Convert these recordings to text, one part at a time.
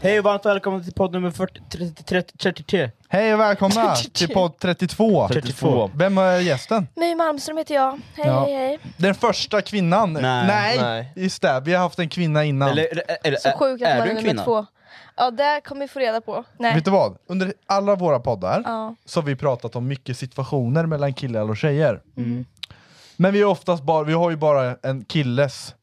Hej och varmt välkomna till podd nummer 40, 30, 30, 33. Hej och välkomna till podd 32. 32. Vem är gästen? My Malmström heter jag. Hej, Ja. hej, hej. Den första kvinnan. Nej. Nej. just det. Vi har haft en kvinna innan. Eller, eller Så är- sjukt att är man du en är nummer kvinna? två. Ja, det kommer vi få reda på. Nej. Vet du vad? Under alla våra poddar Ja. så har vi pratat om mycket situationer mellan killar och tjejer. Mm. Men vi, är oftast bara, vi har ju bara en killes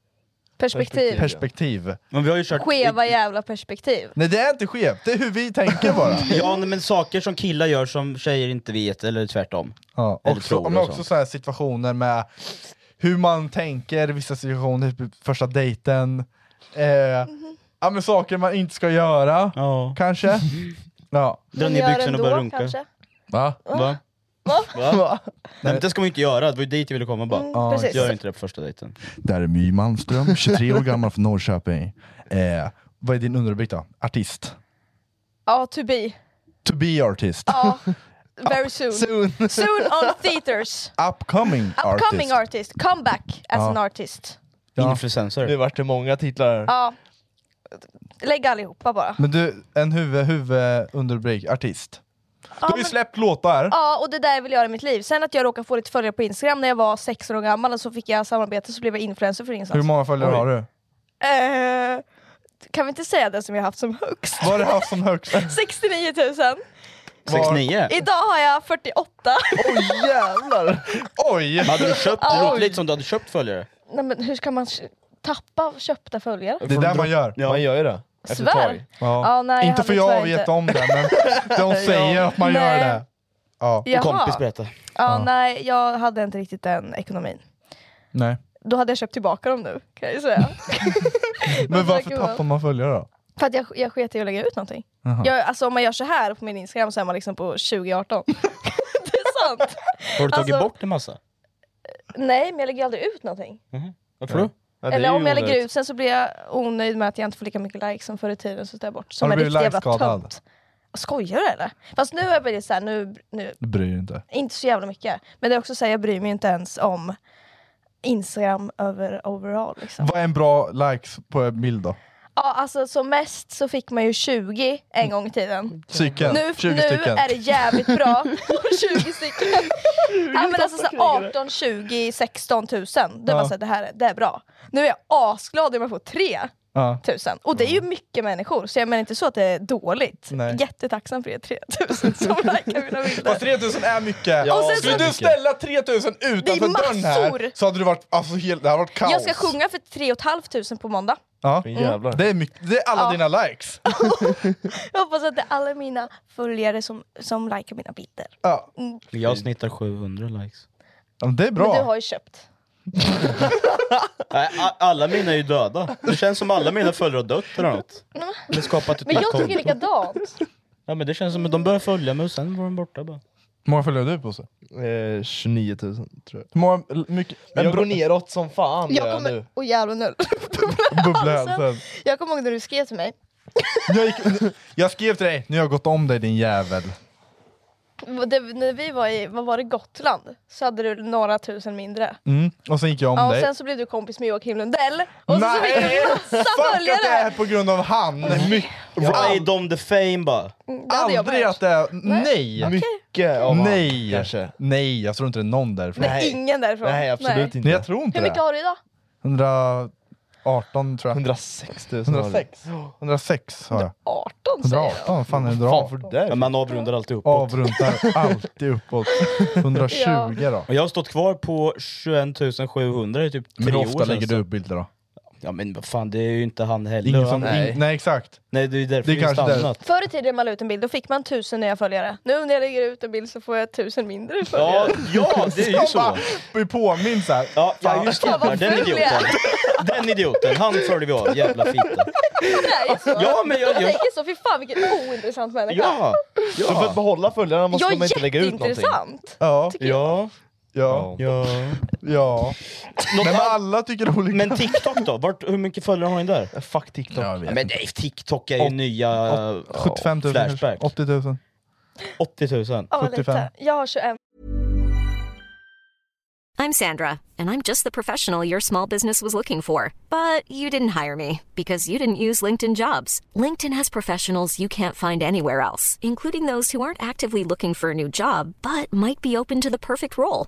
Perspektiv. perspektiv. Men vi har ju kört... Skeva jävla perspektiv. Nej det är inte skevt, det är hur vi tänker bara. Ja nej, men saker som killar gör som tjejer inte vet, eller tvärtom. Ja, Eller också, tror men och också sånt. så här situationer med hur man tänker i vissa situationer, typ första dejten, eh, Mhm. ja, men saker man inte ska göra, Ja. kanske. Ja. Dra Men ner gör byxorna och ändå, börja runka. Kanske. Mm, Va? Va? Va? Va? Nej men det ska man ju inte göra, det var ju dit jag ville komma bara. Mm, Ja, precis. Gör inte det på första dejten. Där är My Malmström, 23 år gammal från Norrköping. Eh, vad är din underrubrik då? Artist? Ja, to be. To be artist? Ja. Very soon. Soon! Soon on theaters. Upcoming, Upcoming artist? artist. Comeback as Ja. an artist. Ja. Nu Influencer. vart det många titlar här. Ja. Lägg allihopa bara. Men du, en huvud, huvud underrubrik, artist. Du Ja, har ju men- släppt låtar. Ja, och det där vill jag göra i mitt liv. Sen att jag råkade få lite följare på Instagram när jag var 16 år gammal och så fick jag samarbete så blev jag influencer för Hur ingenstans. många följare Oj. har du? Eh, kan vi inte säga den som jag haft som högst? Vad har du haft som högst? 69 000. 69. Idag har jag 48. Oj jävlar! Oj! Hade du köpt, det Oj. låter lite som du hade köpt följare. Nej, men hur ska man sh- tappa köpta följare? Det är det man gör. Ja. Man gör ju det. Efter ett Svär. tag. Ja. Ja, nej, inte för hade jag tyvärr vet inte. om det, men de säger att man gör Nej. det. Ja. Jaha. Kompis berätta. Ja, Ja. nej, jag hade inte riktigt den ekonomin. Nej. Då hade jag köpt tillbaka dem nu, kan jag ju säga. Oh Men varför verkar vara- tappar man följare då? För att jag, jag sket i att lägga ut någonting. Jaha. Jag, alltså om man gör så här på min Instagram så är man liksom på 2018. det är sant. Har du tagit Alltså- bort en massa? Nej, men jag lägger aldrig ut någonting. Varför då? Ja, det är Eller ju om jag lägger onödigt. ut sen så blir jag onöjd med att jag inte får lika mycket likes som förr i tiden så tar jag bort. Som Har en du riktig blivit jävla likeskadad? tönt. Skojar du eller? Fast nu har jag blivit såhär, nu, nu, Du bryr dig inte. inte så jävla mycket. Men det är också såhär, jag bryr mig inte ens om Instagram över overall liksom. Vad är en bra likes på en bild då? Ja alltså som mest så fick man ju 20 en gång i tiden. Cykeln? Nu, 20 nu stycken? är det jävligt bra. 20 stycken. ja, men alltså så 18, 20, 16 tusen. Då är Ja. man såhär, det här är- det är bra. Nu är jag asglad när man får tre. Ja. tusen. Och det är ju mycket människor, så jag menar inte så att det är dåligt. Nej. Jättetacksam för er 3000 som likar mina Fast bilder. 3000 är mycket! Ja, sen Skulle så- du ställa 3000 Det är utanför dörren här massor. så hade du varit, alltså, helt, det hade varit kaos. Jag ska sjunga för 3 500 på måndag. Ja. Men jävlar. Det, är mycket, det är alla Ja. dina likes. Jag hoppas att det är alla mina följare som, som likar mina bilder. Ja. Jag snittar 700 likes. Ja, men Det är Men du bra. har ju köpt. Nej, a- alla mina är ju döda. Det känns som alla mina följare har dött eller något. Det skapat ett Men nytt jag tycker konto. likadant. Ja men det känns som att de började följa mig och sen var de borta bara. Hur många följare har du på sig? Eh, 29 000 tror jag. Hur många, mycket, Men jag bra- går neråt som fan gör Jag jag nu. kommer... Alltså. Åh jävlar nu. bubbla i halsen. Jag kommer ihåg när du skrev till mig. Jag, gick, jag skrev till dig, nu har jag gått om dig din jävel. Det, när vi var i, vad var det, Gotland? Så hade du några tusen mindre. Mm. Och sen gick jag om Ja, och dig. sen så blev du kompis med Joakim Lundell. Och så, så fick Nej! du massa Fuck att det är följare! på grund av han! My- Ride on the fame bara. Mm, Det hade jag Aldrig med. att det är... Nej! Mycket av allt, Nej! kanske. Nej, jag tror inte det är någon därifrån. Nej, Nej. ingen därifrån. Nej absolut Nej, inte. jag tror inte Hur mycket det. har du idag? 118 tror jag. 106 000 106? 106 har jag. 18 säger jag. 118? Vad fan är Fan 118? för det? Men man avrundar alltid uppåt. Avrundar alltid uppåt. 120 då. Och jag har stått kvar på 21 700 i typ tre Men hur år ofta känns lägger det. du upp bilder då? Ja men vad fan det är ju inte han heller. Ingen som, Han- Nej. nej. nej exakt. Nej det är ju Det därför är vi har kanske stannat. Förr i tiden man la ut en bild, då fick man tusen nya följare. Nu när jag lägger ut en bild så får jag tusen mindre Ja, följare. ja det är ju så. Blir påminns här. Ja, ja just Fan, jävlar, vad den ful jag idioten. Den idioten, han följer vi av, jävla fitta. Det är ju så. Ja, men jag- jag jag- tänker så, fy fan vilken ointressant människa. Ja! Så för att Ja! behålla följarna måste jag man är inte lägga ut någonting. jätteintressant. Ja, tycker jag. Ja, ja, ja. ja. Något Nej, men annat- alla tycker olika. Men TikTok då? Vart, hur mycket följare har ni där? Fuck TikTok. Ja, jag vet. Ja, men nej, TikTok är ju Åt- nya... åt- 75 000 kanske. Flashback. 80 000. 80 000. Ja, 75. lite. Jag har 21. I'm Sandra, and I'm just the professional your small business was looking for. But you didn't hire me because you didn't use LinkedIn jobs. LinkedIn has professionals you can't find anywhere else, including those who aren't actively looking for a new job but might be open to the perfect role,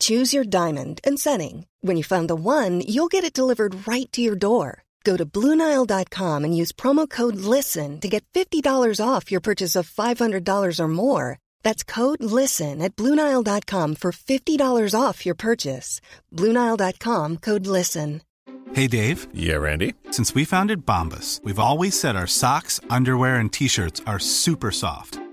Choose your diamond and setting. When you find the one, you'll get it delivered right to your door. Go to Bluenile.com and use promo code LISTEN to get $50 off your purchase of $500 or more. That's code LISTEN at Bluenile.com for $50 off your purchase. Bluenile.com code LISTEN. Hey Dave, Yeah, Randy. since we founded Bombus, we've always said our socks, underwear, and t shirts are super soft.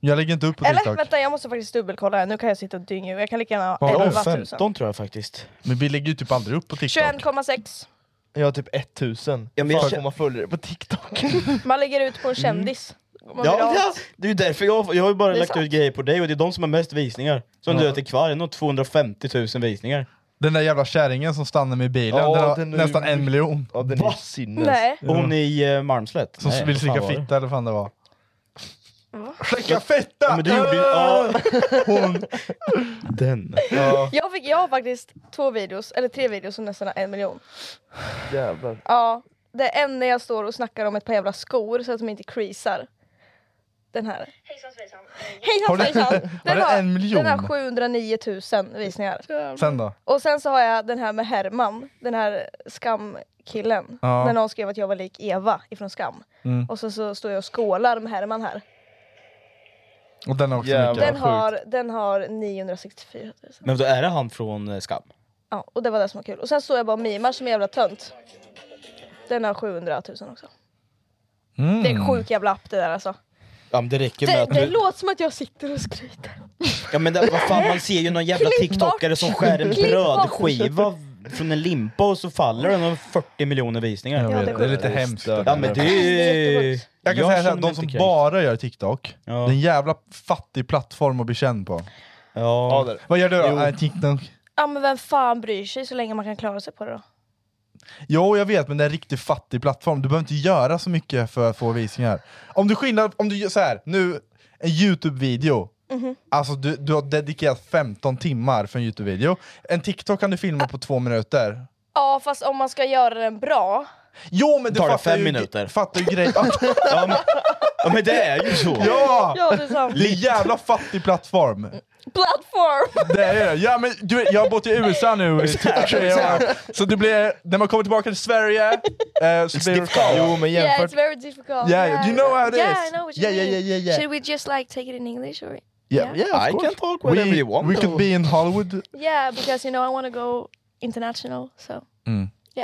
Jag lägger inte upp på Eller TikTok. vänta, jag måste faktiskt dubbelkolla här. Nu kan jag sitta och dynga ur. Jag kan lika gärna Ja, ha 11 000. 15 tror jag faktiskt. Men vi lägger ju typ aldrig upp på TikTok. 21,6. Jag har typ 1000 Ja, men jag för att känner- komma följare på TikTok. Man lägger ut på en kändis. Man vill Ja, ha- ja, det är ju därför jag, jag har ju bara är lagt sant. ut grejer på dig och det är de som har mest visningar. Som du är till kvar, det är nog 250 000 visningar. Den där jävla kärringen som stannar med bilen, Ja, den har den är ju- nästan en miljon. Ja, den är sinnes. Nej. Och Hon i eh, Malmslätt. Som Nej, vill vad slicka fan var det? fitta eller vad fan det var. Slicka fitta! Ja, men du gjorde ju... Ja. Den. Jag, fick, jag har faktiskt två videos, eller tre videos som nästan har en miljon. Jävlar. Ja, det är en när jag står och snackar om ett par jävla skor så att de inte creasar. Den här. Hejsan Har du- svejsan. har Hejsan Den du har, en miljon? Den har 709 000 visningar. Sen då? Och sen så har jag den här med Herman, den här skamkillen. Ja. Mm. När någon skrev att jag var lik Eva ifrån Skam. Och så, så står jag och skålar med Herman här. Och den har också Jävlar. mycket. Den har, den har 964 000. Men då är det han från eh, Skam? Ja, och det var det som var kul. Och sen står jag bara och mimar som en jävla tönt. Den har 700 000 också. Mm. Det är en sjuk jävla app det där alltså. Ja men det räcker med Det, att det du... låter som att jag sitter och skryter. Ja men det, vad fan, man ser ju någon jävla Klipp tiktokare bort. som skär en Klipp bort. brödskiva från en limpa och så faller den och 40 miljoner visningar. Jag Ja, det vet, går det är lite ut. hemskt. Ja, Ja men det är ju... Jag kan säga så här, känner mig de som inte kränkt. bara gör TikTok, Ja. det är en jävla fattig plattform att bli känd på. Ja. det är det. Vad gör du då? Jo. Äh, TikTok. Ja men vem fan bryr sig så länge man kan klara sig på det då? Jo, jag vet, men det är en riktigt fattig plattform. Du behöver inte göra så mycket för att få visningar. Om du skillnad, om du gör så här, nu, en YouTube-video. Alltså du, du har dedikerat 15 timmar för en YouTube-video. En TikTok kan du filma på två minuter. Ja fast om man ska göra den bra. Jo, men du Tar det fattar fem ju, minuter? Fattar ju grejen. Ja, men, ja men det är ju så! ja! Ja det är sant. Det är en jävla fattig plattform. Platform! Det är det. Ja, men du vet, jag har bott i USA nu i tre år. Så det blir, när man kommer tillbaka till Sverige, eh, så blir det Jo men Yeah jämfört... it's very difficult. Yeah, do you know how it yeah, is? I know what you Yeah, yeah, mean. yeah, yeah, yeah. Should we just like take it in English or? Yeah, yeah, of I course. can talk We, whatever you want. we could be in Hollywood. Yeah because you know I wanna go international so.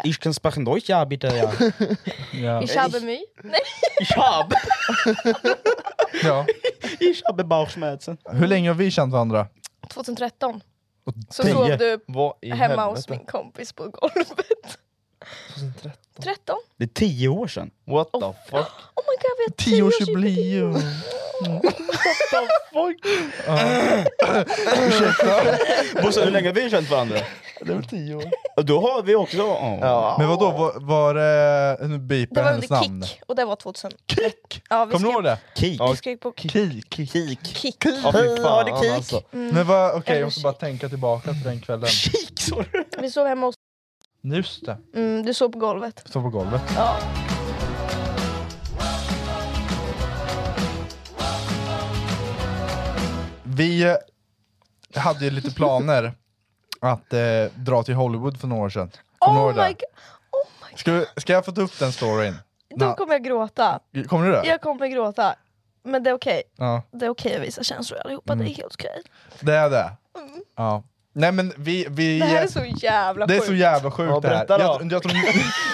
Ich kann sprechen Deutsch, ja bitte ja. Ich habe Mühe. Nej. Ich habe, Ja. ich habe Bauchschmerzen. Hur länge har vi känt varandra? 2013. Så tio. sov du Vad i hemma hos helvete? min kompis på golvet. 13? Det är tio år sedan. What the fuck? Oh my god, vi har Tioårsjubileum! Ursäkta? Bosse, hur länge har vi känt varandra? Det är väl tio år. Ja, Då har vi också... ja. Men vadå, var, var det... Nu Det beeper var hennes under namn. Kick, och det var 2000. Kick? Ja, Kommer vi du skrev ihåg det? Kik. Vi skrev på Kick. Kik. Kik. Kick. Ja, fy fan, Var det kik? Alltså. Mm. Men vad, okej, jag måste bara tänka tillbaka till den kvällen. Vi sov hemma hos... Just det, Mm, du sov på golvet. stå på golvet. Ja. Vi eh, hade ju lite planer att eh, dra till Hollywood för några år sedan. Kommer du Oh ihåg det? my god, Ska, vi- ska jag få ta upp den storyn? då kommer jag gråta. Nå- Kommer du det? Jag kommer gråta. Men det är okej. Ja, Det är okej att visa känslor allihopa, Mm. det är helt okej. det är det. Ja. Nej men vi... vi Mm. Det här är så jävla Det är sjukt. så jävla sjukt Ja, det här. berätta då. Jag, jag, tror,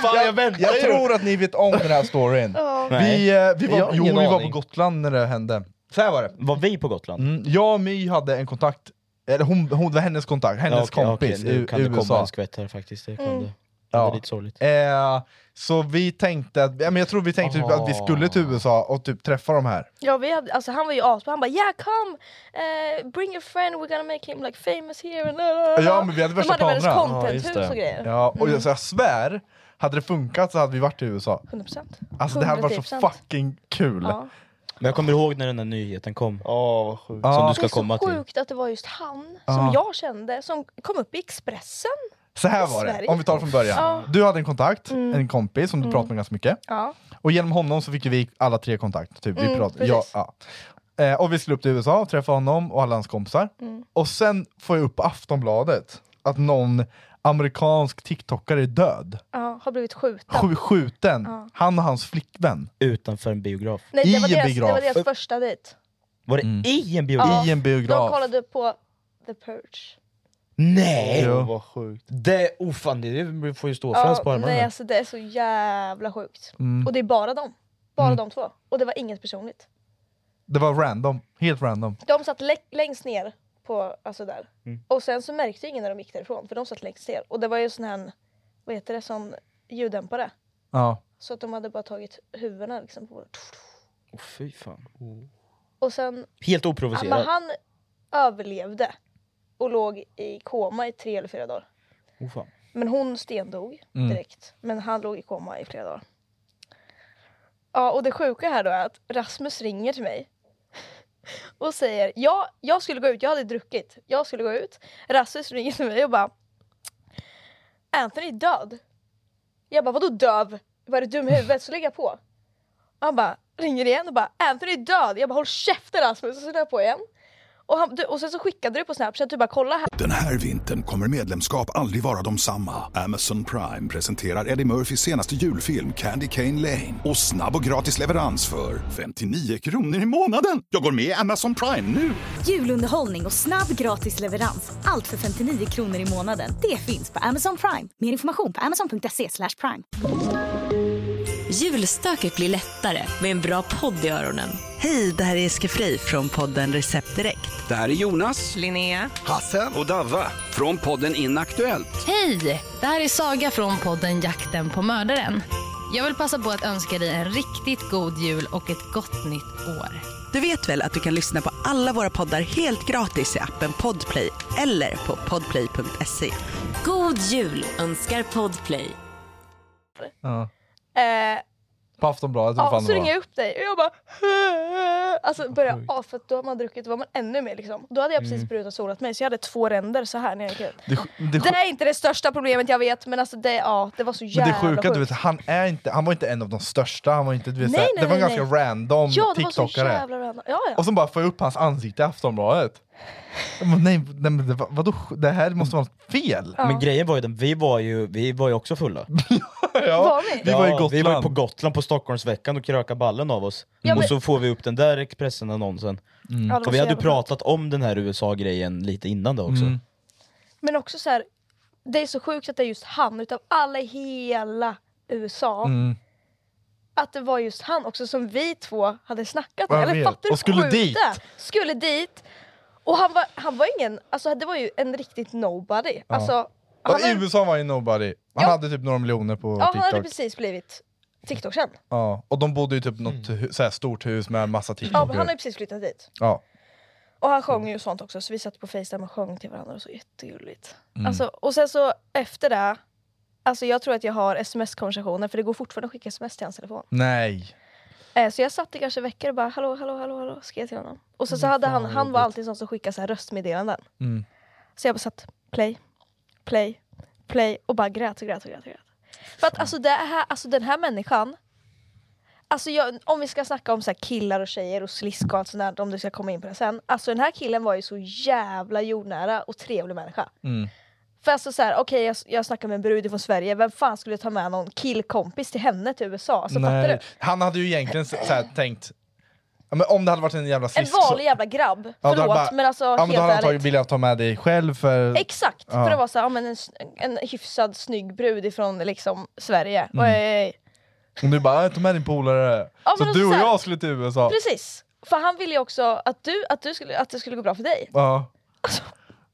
Fan, jag jag, väntar ju. tror att ni vet om den här storyn. Ja. Vi, eh, vi Jag var, har jo, vi ingen var på aning. Gotland när det hände. Så här var det. Var vi på Gotland? Mm, jag och My hade en kontakt, eller hon, hon, det var hennes kontakt, hennes Ja, okej, kompis okej, i Nu kan det komma USA. en skvätt här faktiskt. Det, kan Mm. det. det Ja. är lite sorgligt. Eh, så vi tänkte, att, ja, men jag tror vi tänkte typ att vi skulle till USA och typ träffa de här. Ja, vi hade, alltså, han var ju asbra, han bara 'Yeah come! eh, bring your friend, we're gonna make him like famous here' and Ja men vi hade De värsta hade världens planerna. contenthus och grejer. Ja, och Mm. jag, så jag svär, hade det funkat så hade vi varit i USA. 100%. Alltså det här var så 110%. fucking kul. Ja. Men jag kommer ihåg när den där nyheten kom. Oh, vad sjukt. Som Ja. du ska Det är så komma till. Sjukt att det var just han Ja. som jag kände som kom upp i Expressen. Så här var det, Sverige. om vi tar det från början. Ja. Du hade en kontakt, Mm. en kompis som du Mm. pratade med ganska mycket. Ja. Och genom honom så fick ju vi alla tre kontakt. Typ. vi Mm, pratade, ja, precis. ja. Eh, och vi skulle upp till USA och träffa honom och alla hans kompisar. Mm. Och sen får jag upp på Aftonbladet att någon amerikansk TikTokare är död. Ja, har blivit skjuten. Sju, skjuten. Ja. Han och hans flickvän. Utanför en biograf. Nej, I det, var en deras, det biograf. var deras första dejt. Var det Mm. i en biograf? I en De biograf. kollade på The Purge. Nej! Jo. Vad sjukt. Det, oh fan, det får ju stå för hans på Ja, armarna. nej, alltså, det är så jävla sjukt. Mm. Och det är bara dem. Bara Mm. de två. Och det var inget personligt. Det var random. Helt random. De satt lä- längst ner på, alltså där. Och sen så märkte ingen när de gick därifrån för de satt längst ner. Och det var ju sån här, vad heter det, sån ljuddämpare. Ja. Så att de hade bara tagit huvudena liksom på vårt. Åh, fy fan. Och sen, Helt ja, men oprovocerat. han överlevde. Och låg i koma i tre eller fyra dagar. Oh, fan. Men hon stendog Mm. direkt. Men han låg i koma i flera dagar. Ja, och det sjuka här då är att Rasmus ringer till mig. Och säger, ja, jag skulle gå ut, jag hade druckit. Jag skulle gå ut. Rasmus ringer till mig och bara, Anthony är död. Jag bara, vadå döv? Vad är du dum i huvudet? Så lägger jag på. Han bara, ringer igen och bara, Anthony är död. Jag bara, håll käften Rasmus. Och så la jag på igen. Och, han, du, och sen så skickade du på Snapchat, du bara, kolla här. Den här vintern kommer medlemskap aldrig vara de samma. Amazon Prime presenterar Eddie Murphys senaste julfilm Candy Cane Lane. Och snabb och gratis leverans för 59 kronor i månaden. Jag går med i Amazon Prime nu! Julunderhållning och snabb gratis leverans. Allt för 59 kronor i månaden. Det finns på Amazon Prime. Mer information på amazon.se slash prime. Julstöket blir lättare med en bra podd i öronen. Hej, det här är Eske Fri från podden Recept Direkt. Det här är Jonas, Linnea, Hasse och Davva från podden Inaktuellt. Hej! Det här är Saga från podden Jakten på mördaren. Jag vill passa på att önska dig en riktigt god jul och ett gott nytt år. Du vet väl att du kan lyssna på alla våra poddar helt gratis i appen Podplay eller på podplay.se. God jul önskar Podplay. Ja. Eh, På Aftonbladet. vad Ja, fan så det var. ringer jag upp dig och jag bara Alltså börjar av för att då har man druckit, då var man ännu mer liksom. Då hade jag precis Mm. brutat solat mig så jag hade två ränder så här när jag gick ut. Det, sj- det, Det, sj- är inte det största problemet jag vet men alltså det, ja, det var så men jävla det sjuka, du sjukt. vet, han, är inte, han var inte en av de största, han var inte, du vet, Nej, såhär, nej, det var en nej, ganska nej. random Ja det var så TikTokare. jävla random. Ja, ja. Och sen bara får jag upp hans ansikte i Aftonbladet. Jag bara, nej, nej men det, var- vadå, det här måste vara något fel. Ja. Men grejen var ju den, vi var ju, vi var ju också fulla. Var ni? Vi var i Vi var ju Gotland. på Gotland på Stockholmsveckan och kröka ballen av oss. Ja, och men- så får vi upp den där Expressen-annonsen. Mm. Ja, det var och vi så hade ju jävla skönt. pratat om den här USA-grejen lite innan det också. Mm. Men också så här, det är så sjukt att det är just han utav alla i hela USA. Mm. Att det var just han också som vi två hade snackat Jag med. Eller vet. fattar du Och skulle sjukt det dit. är? Skulle dit. Och han var, han var ingen, alltså det var ju en riktigt nobody. Ja. Alltså Och I USA var ju nobody. Han hade typ några miljoner på Ja, han hade TikTok. precis blivit TikTok-känd. Ja, och de bodde i typ något hu- så här stort hus med massa Ja, men TikTokare. han har ju precis flyttat dit. ja. Och han sjöng ju sånt också, så vi satt på Facetime och sjöng till varandra och så jättegulligt. Mm. Alltså, och sen så efter det, alltså jag tror att jag har sms-konversationer för det går fortfarande att skicka sms till hans telefon. Nej. Eh, så jag satt i kanske veckor och bara hallå, hallå, hallå, hallå, skrev till honom. Och så, så hade han, han var alltid sån som skickade så här röstmeddelanden. Mm. Så jag bara satt play, play, play och bara grät och grät och grät. Och grät. För att alltså, det här, alltså den här människan, alltså jag, om vi ska snacka om så här killar och tjejer och slisk och allt sånt där, om du ska komma in på det sen. Alltså den här killen var ju så jävla jordnära och trevlig människa. Mm. För alltså så här, okej jag, jag snackar med en brud från Sverige, vem fan skulle ta med någon killkompis till henne till USA? Alltså, fattar du? Nej. Han hade ju egentligen så så här, tänkt, ja, men om det hade varit en jävla En slisk så- vanlig jävla grabb, Ja, då hade förlåt bara- men alltså ja, men då helt hade han ärligt. tagit vilja ta med dig själv för... Exakt! Ja. För det var så här, ja, men en, s- en hyfsad snygg brud ifrån liksom, Sverige. eh, Mm. Oj, oj, oj. Och du bara, "Äh, ta med din polare. Ja, så men du och så här- jag skulle till USA. Precis! För han ville ju också att, du, att, du skulle, att det skulle gå bra för dig. Ja. Alltså.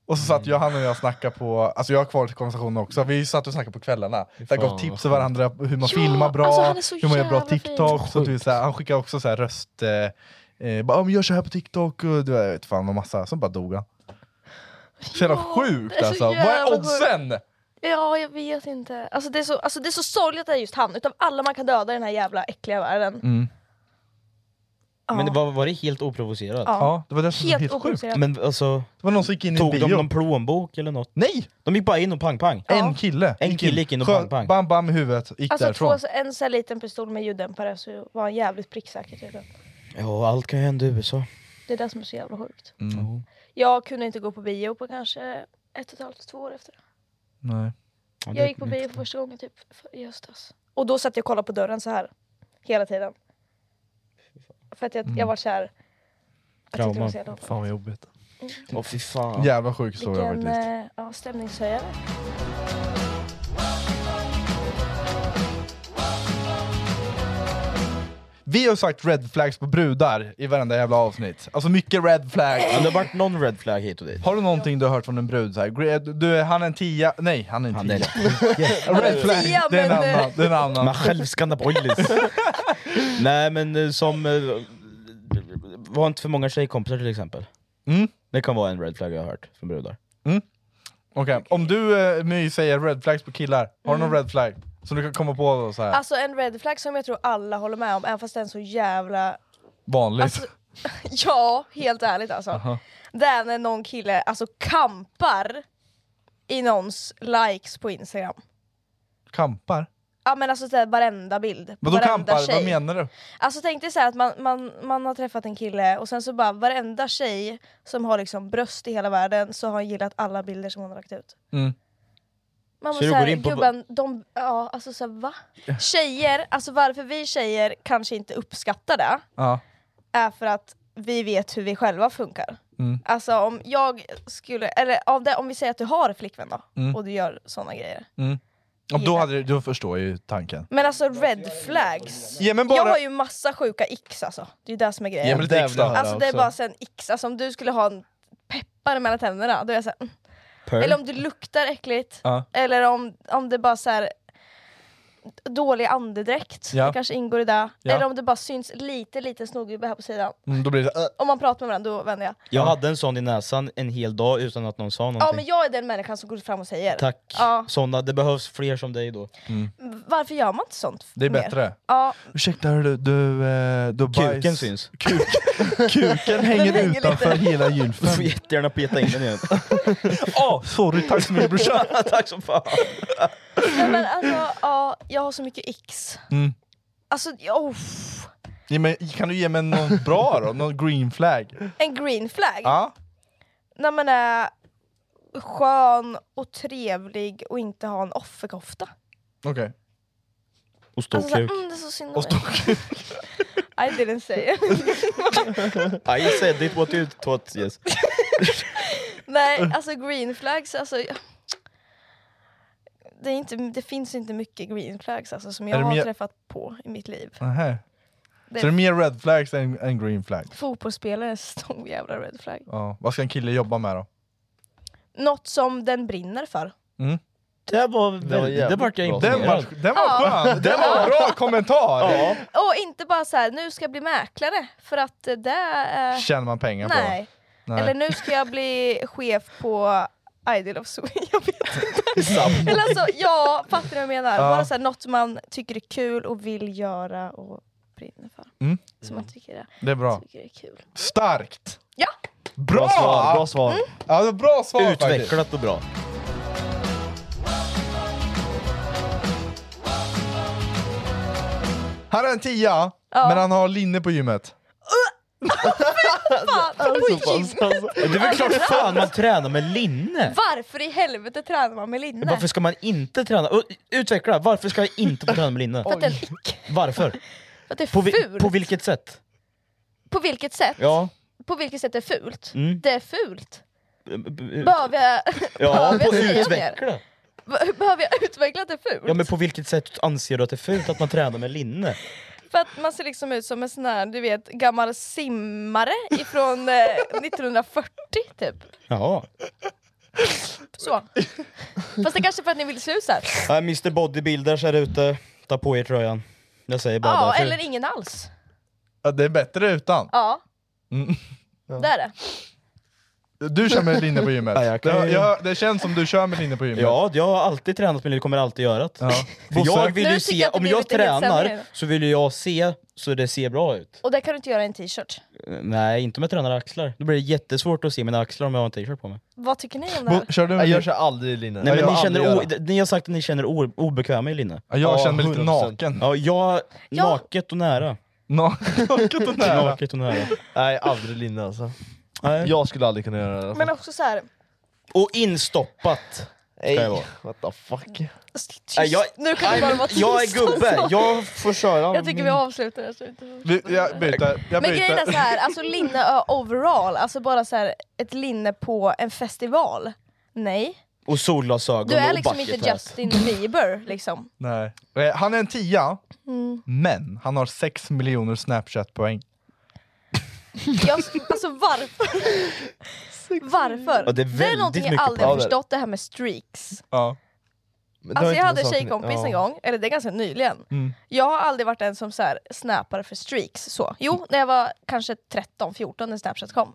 Och så satt Johanna och jag och snackade på, alltså jag har kvar konversationen också, vi satt och snackade på kvällarna. Där gav vad tips till varandra hur man Ja, filmar bra, alltså han är så hur man gör bra jävla fin. TikTok. Så typ så här, han skickade också så här röst, eh, eh, bara, "Ja, men gör så här på TikTok, och du vet, jag vet fan och massa, så bara dog han. Så jävla det är sjukt så alltså, vad är jävla sjukt. oddsen? Ja, jag vet inte. Alltså det är så, alltså, det är så sorgligt att det är just han. Utav alla man kan döda i den här jävla äckliga världen. Mm, Men det var, var det helt oprovocerat? Ja. Ja, det var det som var Helt helt sjukt. oprovocerat. sjukt. Men alltså, det var någon som gick in i tog bio. de någon plånbok eller något? Nej! De gick bara in och pang-pang. En kille. En kille gick in och sköt pang-pang. Bam bam i huvudet, gick Alltså därifrån. två, en sån här liten pistol med ljuddämpare så var han jävligt pricksäker tydligen. Ja, allt kan ju hända i USA. Det är det som är så jävla sjukt. Mm. Jag kunde inte gå på bio på kanske ett och ett halvt, två år efter. Nej. Jag gick på bio för första gången typ för- i höstas. Och då satt jag och kollade på dörren så här hela tiden. För att jag, jag var så här. Jag tyckte det var så jävla Fan vad jobbigt. Åh fy fan. Jävla sjuk historia har Vilken varit lite. eh, ja, stämningshöjare. Vi har ju sagt red flags på brudar i varenda jävla avsnitt. Alltså mycket red flags. Ja, det har varit någon red flag hit och dit. Har du någonting du har hört från en brud? Så här, "Gre- du, han är en tia, nej han är en tia. red flag, tia, det är en men, eh, annan. Det är en annan. Man själv skandabojlis. Nej men eh, som... eh, Var inte för många tjejkompisar till exempel. Det kan vara en red flag jag har hört från brudar. Mm. Okej, Om du eh, My säger red flags på killar, har du någon red flag? Som du kan komma på då, så här. Alltså en red flag som jag tror alla håller med om, även fast den är så jävla... vanligt? Ja, helt ärligt alltså. Aha. Det är när någon kille alltså kampar i någons likes på Instagram. Kampar? Ja men alltså såhär, varenda bild. på Vadå varenda kampar? tjej. Vad menar du? Alltså tänk dig så här att man, man, man har träffat en kille och sen så bara varenda tjej som har liksom bröst i hela världen så har han gillat alla bilder som hon har lagt ut. Mm. Man Så var du såhär, går in på- gubben, de, ja alltså såhär va? Tjejer, alltså varför vi tjejer kanske inte uppskattar det Ja. är för att vi vet hur vi själva funkar. Mm. Alltså om jag skulle, eller av det, om vi säger att du har flickvän då, Mm. och du gör såna grejer. Mm. Ja, Då, hade, du- då förstår jag ju tanken. Men alltså red flags. Ja, men bara- Jag har ju massa sjuka x alltså. Det är ju det som är grejen. Ja, men lite x då. Alltså det är också. bara sen x, alltså om du skulle ha en peppar mellan tänderna, då är jag såhär... mm. Pearl. Eller om du luktar äckligt, Ja. eller om, om det bara såhär dålig andedräkt, Ja. det kanske ingår i det. Ja. Eller om det bara syns lite liten snorgubbe här på sidan. Mm, då blir det så, äh. Om man pratar med varandra, då vänder jag. Jag hade en sån i näsan en hel dag utan att någon sa någonting. Ja men jag är den människan som går fram och säger. Tack. Ja. Såna, det behövs fler som dig då. Varför gör man inte sånt Det är mer? bättre. Ja, Ursäkta hörru, du, eh, du har bajs. Kuken syns. Kuken hänger, hänger lite. utanför hela Du får gylfen. jättegärna peta in den igen. Åh, sorry, tack så mycket brorsan. Tack som fan. Nej, men alltså, ja, jag har så mycket x. Mm. Alltså, jag- oh, Ja, men, kan du ge mig någon bra då? Någon green flag? en green flag. Ja. När man är skön och trevlig och inte har en offerkofta. Ah, Okej. Och Alltså, så här, mm, det är så synd om mig. I didn't say it. I said it what you thought yes. Nej, alltså green flags, alltså... jag- Det, är inte, det finns inte mycket green flags alltså, som jag Är det har mer- träffat på i mitt liv. Nähä. Det- Så det är mer red flags än, än green flags? Fotbollsspelare är en stor jävla red flag. Ja. Vad ska en kille jobba med då? Något som den brinner för. Mm. Det var väldigt, det jävligt vart jag bra. imponerad. Den var- den var Ja. skön. Den var bra kommentar. Ja. Och inte bara så här, nu ska jag bli mäklare för att eh, det är... Tjänar man pengar på? Nej. Nej. Eller nu ska jag bli chef på Idol of Sweden, jag vet inte. Eller alltså, ja, fattar du vad jag menar? Ja. Bara så här, något man tycker är kul och vill göra och brinner för. Mm. Som man tycker är, Det är bra. tycker är kul. Starkt! Ja! Bra! Bra svar, bra svar. Mm. Ja, det var bra svar faktiskt. Utvecklat och bra. Han är en tia, men han har linne på gymmet. Fan, på gym. Det är väl klart fan man tränar med linne! Varför i helvete tränar man med linne? Varför ska man inte träna? Och Utveckla, varför ska jag inte få träna med linne? För att, den, Varför? för att det är På, vi, fult. på vilket sätt? På vilket sätt? Ja. På vilket sätt det är fult? Mm. Det är fult. Ja, Behöver jag, ja behöver jag på säga mer? utveckla. Be- Behöver jag utveckla att det är fult? Ja, men på vilket sätt anser du att det är fult att man tränar med linne? För att man ser liksom ut som en sån här, du vet, gammal simmare ifrån eh, 1940 typ. Jaha. Så. Fast det är kanske för att ni vill se ut såhär. Nej, Mr Bodybuilders här ute, ta på er tröjan. Jag säger bara Ja, därför. eller ingen alls. Ja, det är bättre utan. Ja, Mm. det är det. Du kör med linne på gymmet. Ja, jag kan det, ju- jag, det känns som du kör med linne på gymmet. Ja, jag har alltid tränat men jag kommer alltid göra det. För Bosse? jag vill Nu ju tycker se, jag att det om blir jag lite nedsättande tränar nu. så vill ju jag se så det ser bra ut. Och det kan du inte göra i en t-shirt. Eh, Nej, inte om jag tränar axlar. Då blir det jättesvårt att se mina axlar om jag har en t-shirt på mig. Vad tycker ni om det här? Kör du jag kör aldrig linne. Nej, men jag ni, känner o, aldrig göra. d- ni har sagt att ni känner o, obekväma i linne. Ja, jag känner mig lite 100%. naken. Ja, jag, naket och nära. Naket och nära. Naket och nära. Nej, aldrig linne alltså. Nej. Jag skulle aldrig kunna göra det. Alltså. Men också så här. Och instoppat. Nej, jag vara. what the fuck. tyst. Nej, jag, nu kan nej, du bara men vara tyst. Jag är gubbe, alltså. jag får köra. Jag tycker vi min- avslutar det här. så inte- Vi, jag byter. Jag Men byter. grejen är så här, alltså linne ö- overall, alltså bara så här, ett linne på en festival. Nej. Och solglasögon Du är och liksom inte bucket hat. Justin Bieber liksom. Nej. Eh, Han är en tia, Mm. men han har 6 miljoner Snapchat-poäng. Jag, alltså varför? varför? Ja, det är väldigt någonting jag mycket aldrig har poäng. förstått, det här med streaks. Ja. Alltså jag hade en tjejkompis en gång, eller det är ganska nyligen. Mm. Jag har aldrig varit en som så här, snappar för streaks. Så. Jo, när jag var kanske 13-14 när Snapchat kom.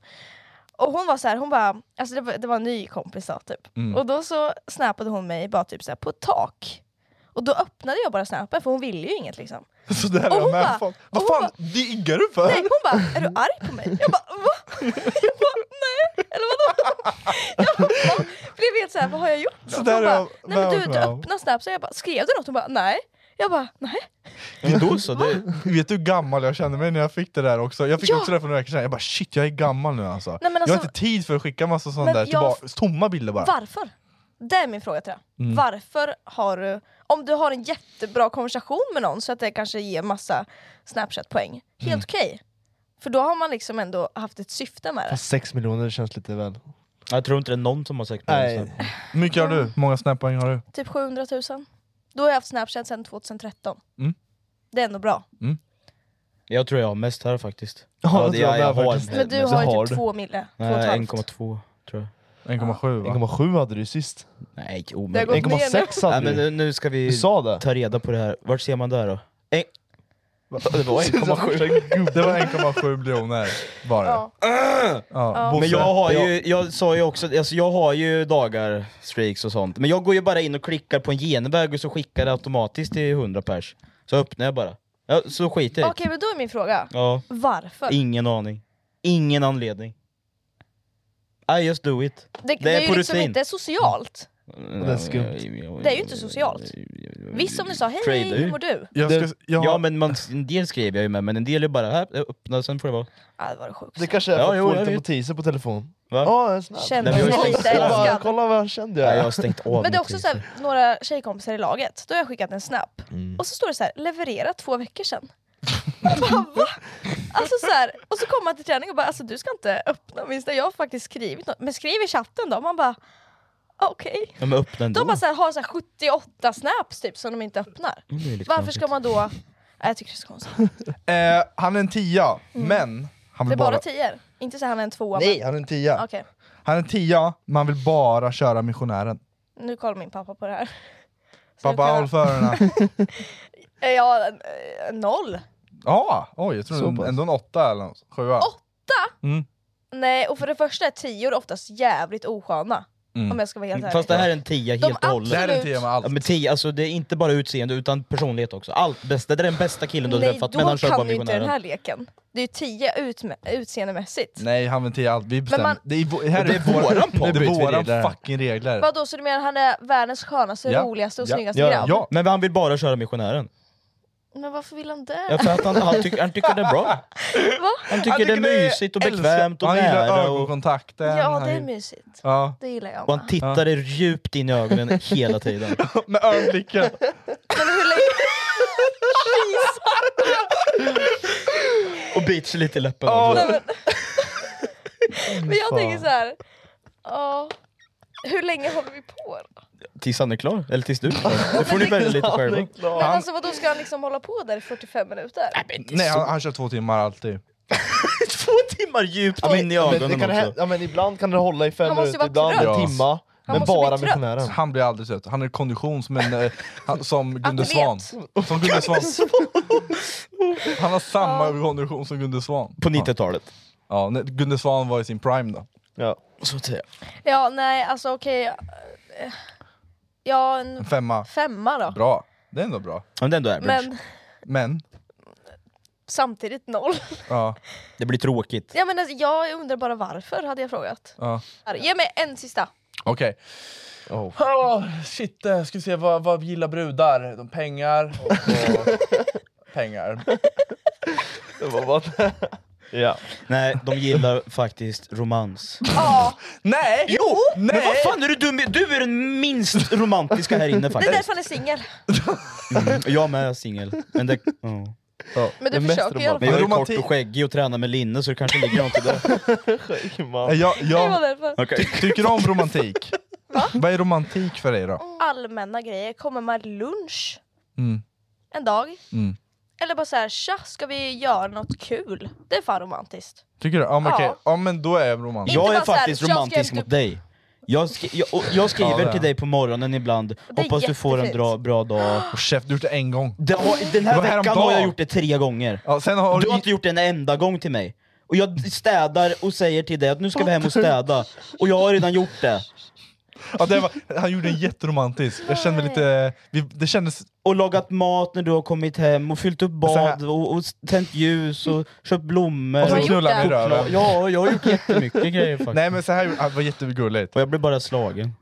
Och hon var så här, hon bara, alltså det var, det var en ny kompis då, typ. Mm. Och då så snappade hon mig bara typ så här, på ett tak. Och då öppnade jag bara snappen för hon ville ju inget liksom. Så där är Och jag hon med. bara- Fan. Vad fan diggar du för? Nej, hon bara, är du arg på mig? Jag bara, va? Jag bara, nej, eller vadå? Jag bara, va? För jag vet såhär, vad har jag gjort? då? Så där hon är bara, jag nej men du, med du om. öppnar Snap, så jag bara, skrev du något? Hon bara, nej. Jag bara, nej. Då så, det... Vet du hur gammal jag kände mig när jag fick det där också? Jag fick Ja. också det för några veckor sedan, jag bara shit jag är gammal nu alltså. men jag har alltså- inte tid för att skicka massa sådana Men där jag- tillbaka, tomma bilder bara. Varför? Det är min fråga till dig. Mm. Varför har du, om du har en jättebra konversation med någon så att det kanske ger massa Snapchat-poäng, helt Mm. okej. För då har man liksom ändå haft ett syfte med det. Fast 6 miljoner känns lite väl... Jag tror inte det är någon som har sagt Nej. Hur mycket har du? Hur många snappoäng har du? Typ 700 000. Då har jag haft Snapchat sedan 2013. Mm. Det är ändå bra. Jag tror jag har mest här faktiskt. Ja, jag tror jag med Eh, har faktiskt. Men du mest. har ju typ två mille, två och ett Nej, halvt. 1,2 tror jag. 1,7 va? 1,7 hade du sist. Nej, Det har gått omöjligt. ner nu. 1,6 hade Nej, men du. nu, nu ska vi Du sa det. ta reda på det här. Vart ser man det här då? En... Det var 1,7. Det var 1,7 miljoner var det. Ja. Ja. Men Bosse, jag har ju, jag sa ju också, alltså jag har ju dagar, streaks och sånt. Men jag går ju bara in och klickar på en genväg och så skickar det automatiskt till 100 pers. Så öppnar jag bara. Ja, så skiter jag i Okej, men då är min fråga. Ja. Varför? Ingen aning. Ingen anledning. I just do it. det, det, är ju liksom inte socialt. Det är skumt. Det är ju inte socialt. Visst om du sa hej, Trade hej, hur ut. mår du? Ja men man, en del skriver jag ju med, men en del är bara här, öppna, sen får det vara. Ja, det var det sjukaste. Det kanske är Ja, för att jo, få jag lite vet. notiser på telefon. Va? Ja, jag är snäll. Känner Nej, men jag har Jag stängt ska av. bara, Kolla vad jag kände Nej, jag har stängt av Men det är mitt också hus. så här, några tjejkompisar i laget, då har jag skickat en snap, och så står det så här, leverera två veckor sedan. Jag bara, va? Alltså så här, och så kommer man till träning och bara alltså du ska inte öppna min snap, jag har faktiskt skrivit något. Men skriv i chatten då, man bara "Ah, okej. Ja, men öppna ändå. De bara så här, har så här 78 snaps typ som de inte öppnar. Mm, det är lite Varför ska konstigt. man då... Nej, jag tycker det är så konstigt. Eh, han är en tia, men han Mm. Det är vill bara bara... tior, inte så här han är en tvåa. Nej, men- han är en tia. Okej. Han är en tia, men han vill bara köra missionären. nu kollar min pappa på det här. Så Pappa, jag- håll för öronen. Eh, Ja, eh, noll. Ja, oj, jag tror Så en- pass. ändå en åtta eller något. Sjua. Åtta? Mm. Nej, och för det första är tior oftast jävligt osköna. Mm. Om jag ska vara helt ärlig. Fast det här är en tia De helt och hållet. absolut- Det här är en tia med Ja, men tia, alltså det är inte bara utseende utan personlighet också. Allt bästa, det är den bästa killen du har Nej, träffat men då han kör bara kan du inte den här missionären. leken. Det är ju tio utme- utseendemässigt. Nej, han vill inte allt. Vi bestämmer. man- det är, vo- här Det är våran podd. Det är Nu byter vi våran regler här. fucking regler. Vadå, så du menar han är världens skönaste, roligaste och snyggaste grabb? Men han vill bara köra missionären. Men varför vill han det? Ja, för att han, han, tycker, han tycker det är bra. Va? Han tycker det är mysigt och bekvämt och Han gillar nära. Och, ögonkontakten. Ja, han det är gillar- mysigt. Ja. Det gillar jag och han med. tittar dig djupt in i ögonen hela tiden. Med ögonblicken. Men hur länge... Och biter sig lite i läppen Ja, också. nej, men jag Fan. tänker så här. ja, hur länge håller vi på? då? Tills han är klar, eller tills du är klar. Det får ni välja lite själva. Men alltså vadå, ska han liksom hålla på där i 45 minuter? Nej, han, han kör två timmar alltid. Två timmar djupt in i ögonen det kan också. hä- ja, men ibland kan det hålla i fem Han måste minuter, vara ibland en timma. men bara missionären. Han blir aldrig trött. Han är i kondition som, en, eh, han, som Gunde Svan. Atlet. Som Gunde Svan. Han har samma kondition som Gunde Svan. På 90-talet. Ja, när Gunde Svan var i sin prime då. Ja. Så att säga. Ja, nej alltså okej. eh, Ja, en En femma. femma då. Bra. Det är ändå bra. Men det är ändå average. Men Men? samtidigt noll. Ja. Det blir tråkigt. Jag, menar, jag undrar bara varför, hade jag frågat. Ja. Här, Ge mig en sista. Okej. Oh, shit, eh, ska vi se vad, vad gillar brudar? De pengar och, och pengar. Det var bara Ja. Nej, de gillar faktiskt romans. Ja. Nej! Jo! Nej! Men vad fan är du dum i- Du är den minst romantiska här inne Det är faktiskt. därför han är singel. Mm, jag med, jag är singel. Men det... ja. Men du Det mest försöker i alla romantiska. fall. Men jag är kort Romantik- och skäggig och tränar med linne så det kanske ligger något i det. Nej, Jag, Det var jag, därför. Okej. ty, tycker du om romantik? Vad är romantik för dig då? Allmänna grejer, kommer man lunch Mm. en dag? Mm. Eller bara så här, tja, ska vi göra något kul? Det är fan romantiskt. Tycker du? Ja men, okej. Ja. ja, men då är jag romantisk. Inte Jag är bara så här, faktiskt jag ska romantisk äta mot upp- dig. Jag, skri- jag, och jag Ja, det skriver är. till dig på morgonen ibland, är hoppas du får en jättefint. bra, bra dag. Och chef, du har gjort det en gång. Det har, den Det här var veckan häromdagen. har jag gjort det tre gånger. Ja, sen har Du har du... inte gjort det en enda gång till mig. Och jag städar och säger till dig att nu ska vi hem och städa. Och jag har redan gjort det. ja, det var, han gjorde en jätteromantisk. Jag kände mig lite... Vi, det kändes... Och lagat mat när du har kommit hem och fyllt upp Så här. bad och, och tänt ljus och köpt blommor. Och så och Alltså, knullar han i choklad. röven. Ja, jag har gjort jättemycket grejer faktiskt. Nej men så här, gjorde- ja, det var jättegulligt. Och jag blev bara slagen.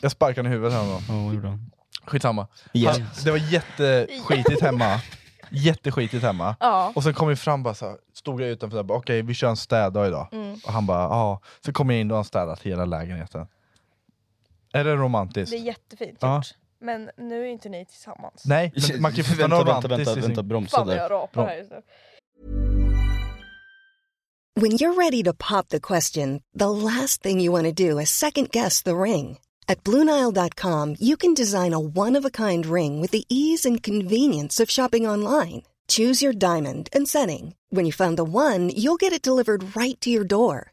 Jag sparkade honom i huvudet häromdagen. Ja, det gjorde han. Skitsamma. Igen. Han, det var jätteskitigt hemma. Jätteskitigt hemma. Ja. Och sen kom vi fram bara så här, stod jag utanför och bara okej vi kör en städdag idag. Mm. Och han bara ja. Så kom jag in och han städat hela lägenheten. Är det romantiskt? Det är jättefint gjort. Ja. Men nu är inte ni tillsammans. Nej, men man kan ju fortfarande vänta, vara vänta, romantisk vänta, i sin- vänta, bromsa Fan vad där. jag rapar här just nu. When you're ready to pop the question, the last thing you want to do is second guess the ring. At Bluenile.com, you can design a one of a kind ring with the ease and convenience of shopping online. Choose your diamond and setting. When you find the one, you'll get it delivered right to your door.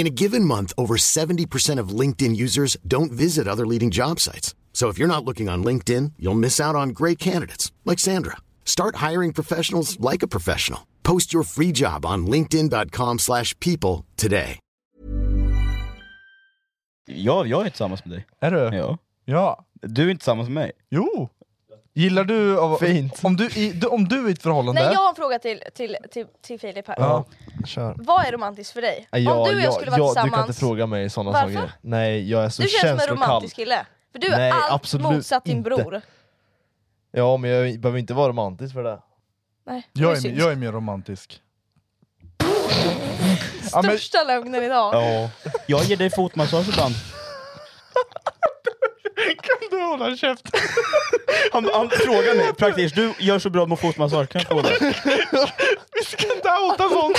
In a given month, over 70% of LinkedIn users don't visit other leading job sites. So if you're not looking on LinkedIn, you'll miss out on great candidates like Sandra. Start hiring professionals like a professional. Post your free job on linkedin.com/people slash people today. Ja, jag är tillsammans med dig. Är du? Ja. Ja. Du är inte tillsammans med mig. Jo! Gillar du... Av, Fint. Om du, i, du- om du är i ett förhållande... Nej, jag har en fråga till, till, till, till Filip här. Ja. Kör. Vad är romantiskt för dig? Ja, Om du och jag ja, skulle vara ja, Du kan tillsammans, inte fråga mig sådana Varför? saker. Nej, jag är så du känns som en känslokall. romantisk kille. För du är Nej, allt absolut motsatt din inte. bror. Ja, men jag behöver inte vara romantisk för det. Nej, det Jag är, synd. jag är mer romantisk. ja, men, Största lögnen idag. Ja. Jag ger dig fotmassage ibland. kan du hålla en käft. Han, han frågar mig, praktiskt, du gör så bra med fotmassage, kan jag få det? Vi ska inte outa sånt.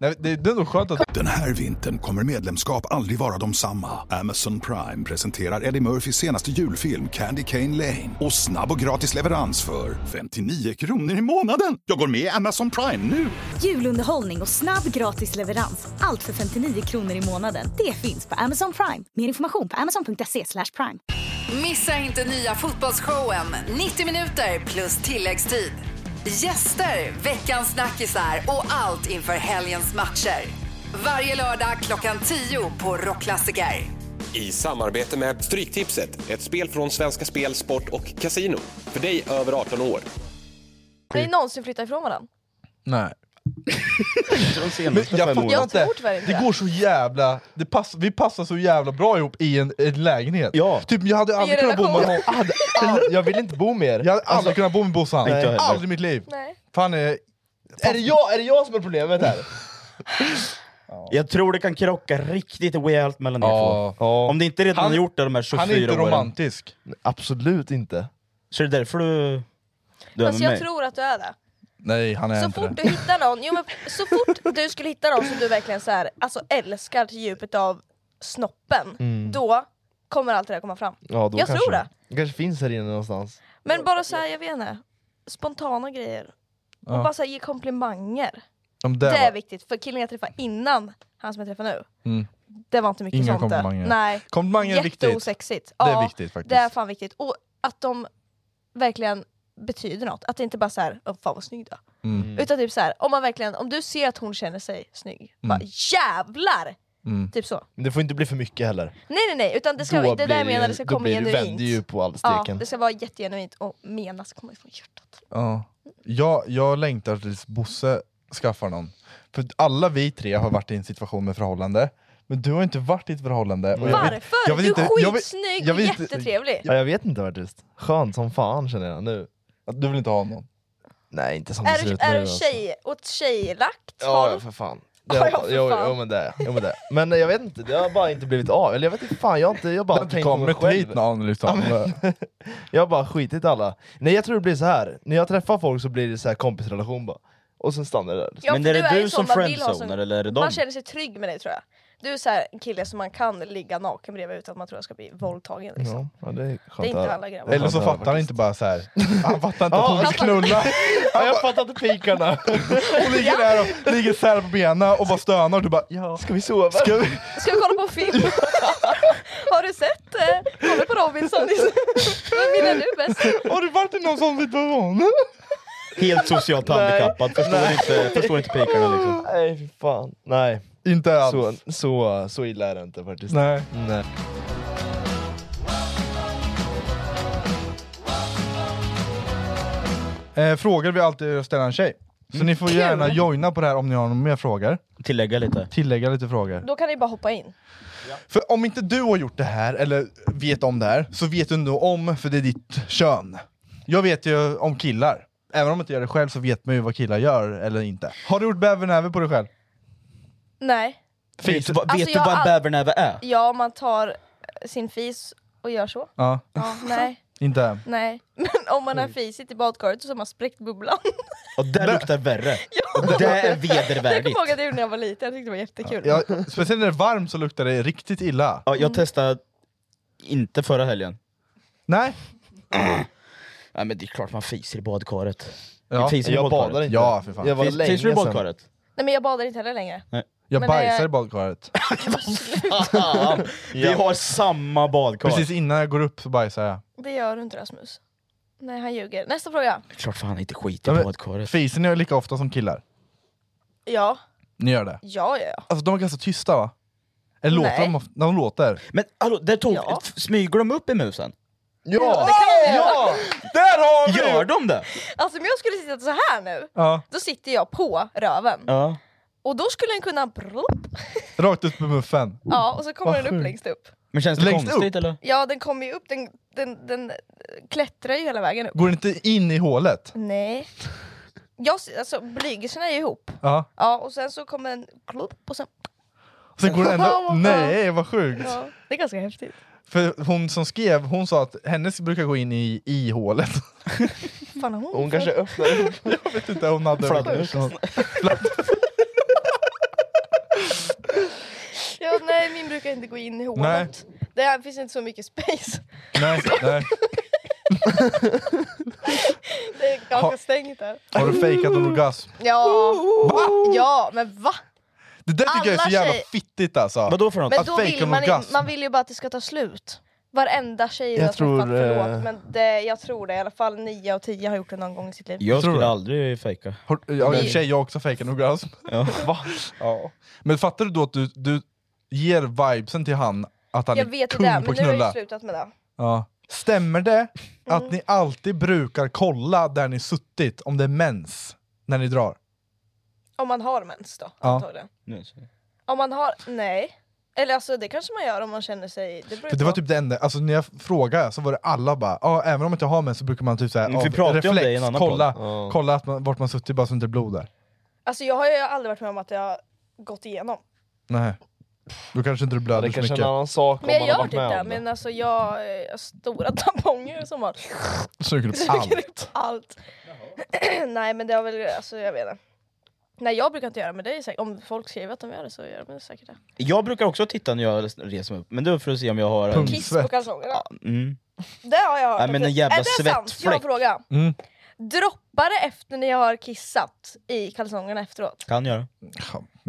Nej, det, är ändå skönt Den här vintern kommer medlemskap aldrig vara de samma. Amazon Prime presenterar Eddie Murphys senaste julfilm Candy Cane Lane. Och snabb och gratis leverans för 59 kronor i månaden. Jag går med i Amazon Prime nu! Julunderhållning och snabb gratis leverans. Allt för 59 kronor i månaden. Det finns på Amazon Prime. Mer information på amazon.se slash prime. Missa inte nya fotbollsshowen 90 minuter plus tilläggstid. Gäster, veckans snackisar och allt inför helgens matcher. Varje lördag klockan 10 på Rockklassiker. I samarbete med Stryktipset, ett spel från Svenska Spel, Sport och Casino. För dig över 18 år. Har ni någonsin flyttat ifrån varandra? Nej. Men jag åren. fattar Jag inte. tror tyvärr inte Det det. går så jävla... Det pass, vi passar så jävla bra ihop i en, en lägenhet. Ja. Typ, jag hade aldrig kunnat bo med relation. någon. Jag, hade all- jag vill inte bo med er. Jag hade aldrig Alltså- kunnat bo med Bossan. Inte jag heller. Aldrig i mitt liv. Fan, eh, är, Är det jag, är det jag som är problemet här? Jag tror det kan krocka riktigt rejält mellan er Ja. två. Om det inte redan Han- har gjort det de här 24 han är inte åren. romantisk. Absolut inte. Så är det därför du... Du Fast Alltså, jag tror att du är det. Nej, han är Så inte fort det. du hittar någon, jo, men så fort du skulle hitta någon som du verkligen så här, alltså älskar till djupet av snoppen, Mm. då kommer allt det där komma fram. Ja, då jag kanske. tror det. Det kanske finns här inne någonstans. Men bara så här, jag vet inte, spontana grejer. Och Ja. bara så här, ge komplimanger. Om Det, det är var- viktigt, för killen jag träffade innan, han som jag träffar nu, Mm. det var inte mycket Inga sånt. där. komplimanger. Nej. Komplimanger är viktigt. Jätteosexigt. Det är Ja, viktigt faktiskt. Det är fan viktigt. Och att de verkligen betyder något. Att det inte bara så här, "Åh, fan vad snygg du är." Mm. Utan typ så här, om man verkligen, om du ser att hon känner sig snygg, bara Mm. jävlar! Mm. Typ så. Men det får inte bli för mycket heller. Nej nej nej, utan det, ska, Då det där blir jag menar det ska då komma blir det- genuint. vänder ju på all Ja, steken. det ska vara jättegenuint och menas komma ifrån hjärtat. Ja. Jag, jag längtar tills Bosse skaffar någon. För alla vi tre har varit i en situation med förhållande, men du har inte varit i ett förhållande. och jag vet- Varför? jag vet du inte- är jag vet- skitsnygg jag och vet inte- jättetrevlig. Ja, jag vet inte faktiskt. Skönt som fan känner jag nu. Du vill inte ha någon? Nej, inte som det Är ser du, ut är nu. alltså. du tjej, åt tjejlack? Ja, ja, för fan. Det Ja, har, ja, för jo, fan. Jo, men det är jag. jo, men det. är jag. Men eh, jag vet inte, det har bara inte blivit av. Eller jag vet inte, fan, jag har inte, jag har bara har inte tänkt på mig kommit själv. hit när Anneli sa Ja, men- Jag har bara skitit i alla. Nej, jag tror det blir så här. när jag träffar folk så blir det så här kompisrelation bara. Och sen stannar det där. liksom. Ja, för är ju sån man vill ha sån- Man Känner... känner sig trygg med dig tror jag. Du är så här, en kille som man kan ligga naken bredvid utan att man tror jag ska bli våldtagen. Liksom. Ja, ja, det är skönt Det är inte att höra. alla grabbar. Eller så Skönt att höra fattar han inte bara så här. han fattar inte Ja, att hon han vill fattar- knulla. Ja, jag fattar inte pikarna. Hon ligger där och ligger sär på benen och bara stönar och du bara ja. Ska vi sova? Ska vi? Ska jag kolla på film? Har du sett? eh, Kolla på Robinson. Vem gillar du bäst? Har du varit i någon sån situation? Helt socialt handikappad, förstår Nej. inte, förstår inte pikarna liksom. Nej, fy fan. Nej. Inte alls. Så, så, så illa är det inte faktiskt. Nej. Nej. Eh, frågor vi alltid ställer en tjej. Så ni får Kul. gärna joina på det här om ni har några mer frågor. Tillägga lite. Tillägga lite frågor. Då kan ni bara hoppa in. För om inte du har gjort det här, eller vet om det här, så vet du ändå om, för det är ditt kön. Jag vet ju om killar. Även om jag inte gör det själv så vet man ju vad killar gör eller inte. Har du gjort bävernäve på dig själv? Nej. Fis. Vet, Alltså, du jag vad en all- bävernäve är? Ja, om man tar eh, sin fis och gör så. Ja. Ja, nej, Inte än. nej. Men om man har fisit i badkaret så har man spräckt bubblan. Och det luktar värre. Och det är Jag vedervärdigt. kommer ihåg att jag gjorde när jag var liten, jag tyckte det var jättekul. Ja, speciellt när det är varmt så luktar det riktigt illa. Ja, jag testade inte förra helgen. Nej. Nej men det är klart man fiser i badkaret. Ja. Fiser i Jag badkaret. badar inte. Ja, för fan. Jag var Fis- länge Fiser du i sedan. badkaret? Nej men jag badar inte heller längre. Nej. Jag Men, bajsar eh, i badkaret. Fan, Vi har samma badkar. Precis innan jag går upp så bajsar jag. Det gör du inte Rasmus. Nej han ljuger. Nästa fråga. Klart fan inte skit i Ja, men badkaret. Fiser ni lika ofta som killar? Ja. Ni gör det? Ja ja ja. Alltså de är ganska tysta va? Eller Nej. låter de ofta? De låter. Men hallå, där tog, f- smyger de upp i musen? Ja! Det kan man göra. Där har vi! Gör de det? Alltså om jag skulle sitta så här nu, Ja. då sitter jag på röven. Ja. Och då skulle den kunna... Brupp. Rakt ut på muffen. Ja och så kommer Vad den upp sjukt. längst upp. Men känns det Längst konstigt upp? eller? Ja den kommer ju upp, den, den, den eh, klättrar ju hela vägen upp. Går den inte in i hålet? Nej. Jag, s- alltså blygelserna är ju ihop. Ja. Ja och sen så kommer den... Klubb, och sen... Sen går den ändå... Ja. Nej vad sjukt! Ja, det är ganska häftigt. För hon som skrev, hon sa att hennes brukar gå in i i-hålet. Fan, har hon, Hon fått- kanske öppnade upp. Jag vet inte, hon hade... Fladdermus. Ja, nej, min brukar inte gå in i hålet. Det finns inte så mycket space. Nej, nej. Det är ganska Har- stängt där. Har du fejkat en orgasm? Ja. Va? Ja, men va? Det där tycker jag är så Alla jävla tjej- fittigt alltså. Vadå för Men då vill man, in, man vill ju bara att det ska ta slut. Varenda tjej jag, Jag har träffat, tror, eh, förlåt, men det, jag tror det. I alla fall 9 av 10 har gjort det någon gång i sitt liv. Jag Tror skulle du? aldrig fejka. Har, ja, i och Vi- för sig, jag också fejkar en orgasm. Ja. Va? Ja. Men fattar du då att du, du ger vibesen till han att han Jag är vet ju kung det, på men att nu har jag ju knulla? slutat med det. Ja. Stämmer det att ni alltid brukar kolla där ni suttit om det är mens när ni drar? Om man har mens då, Ja. antagligen. Om man har, nej. Eller alltså det kanske man gör om man känner sig... Det, beror För det på. var typ det enda, alltså när jag frågade så var det alla bara ja även om jag inte har mens så brukar man typ såhär, Mm, vi ja, pratade ju om reflex, det i en annan kolla, podd. Ja. kolla att man, vart man suttit bara så inte det är blod där. Alltså jag har ju aldrig varit med om att jag har gått igenom. Nej. Då kanske inte du det blöder så kanske är en mycket. annan sak Men jag gör typ det, men alltså jag... eh, Stora tamponger som har... Suger upp Suger allt. upp allt. Nej men det har väl, alltså jag vet inte. Nej jag brukar inte göra det, men det är säkert, om folk skriver att de gör det så gör de det säkert det. Jag brukar också titta när jag reser mig upp, men det är för att se om jag har... en- Kiss på kalsongerna. Mm. Det har jag hört. Nej, men också. en jävla är det sant? Jag har en svettfläck. fråga. Mm. Droppar det efter ni har kissat i kalsongerna efteråt? Kan göra.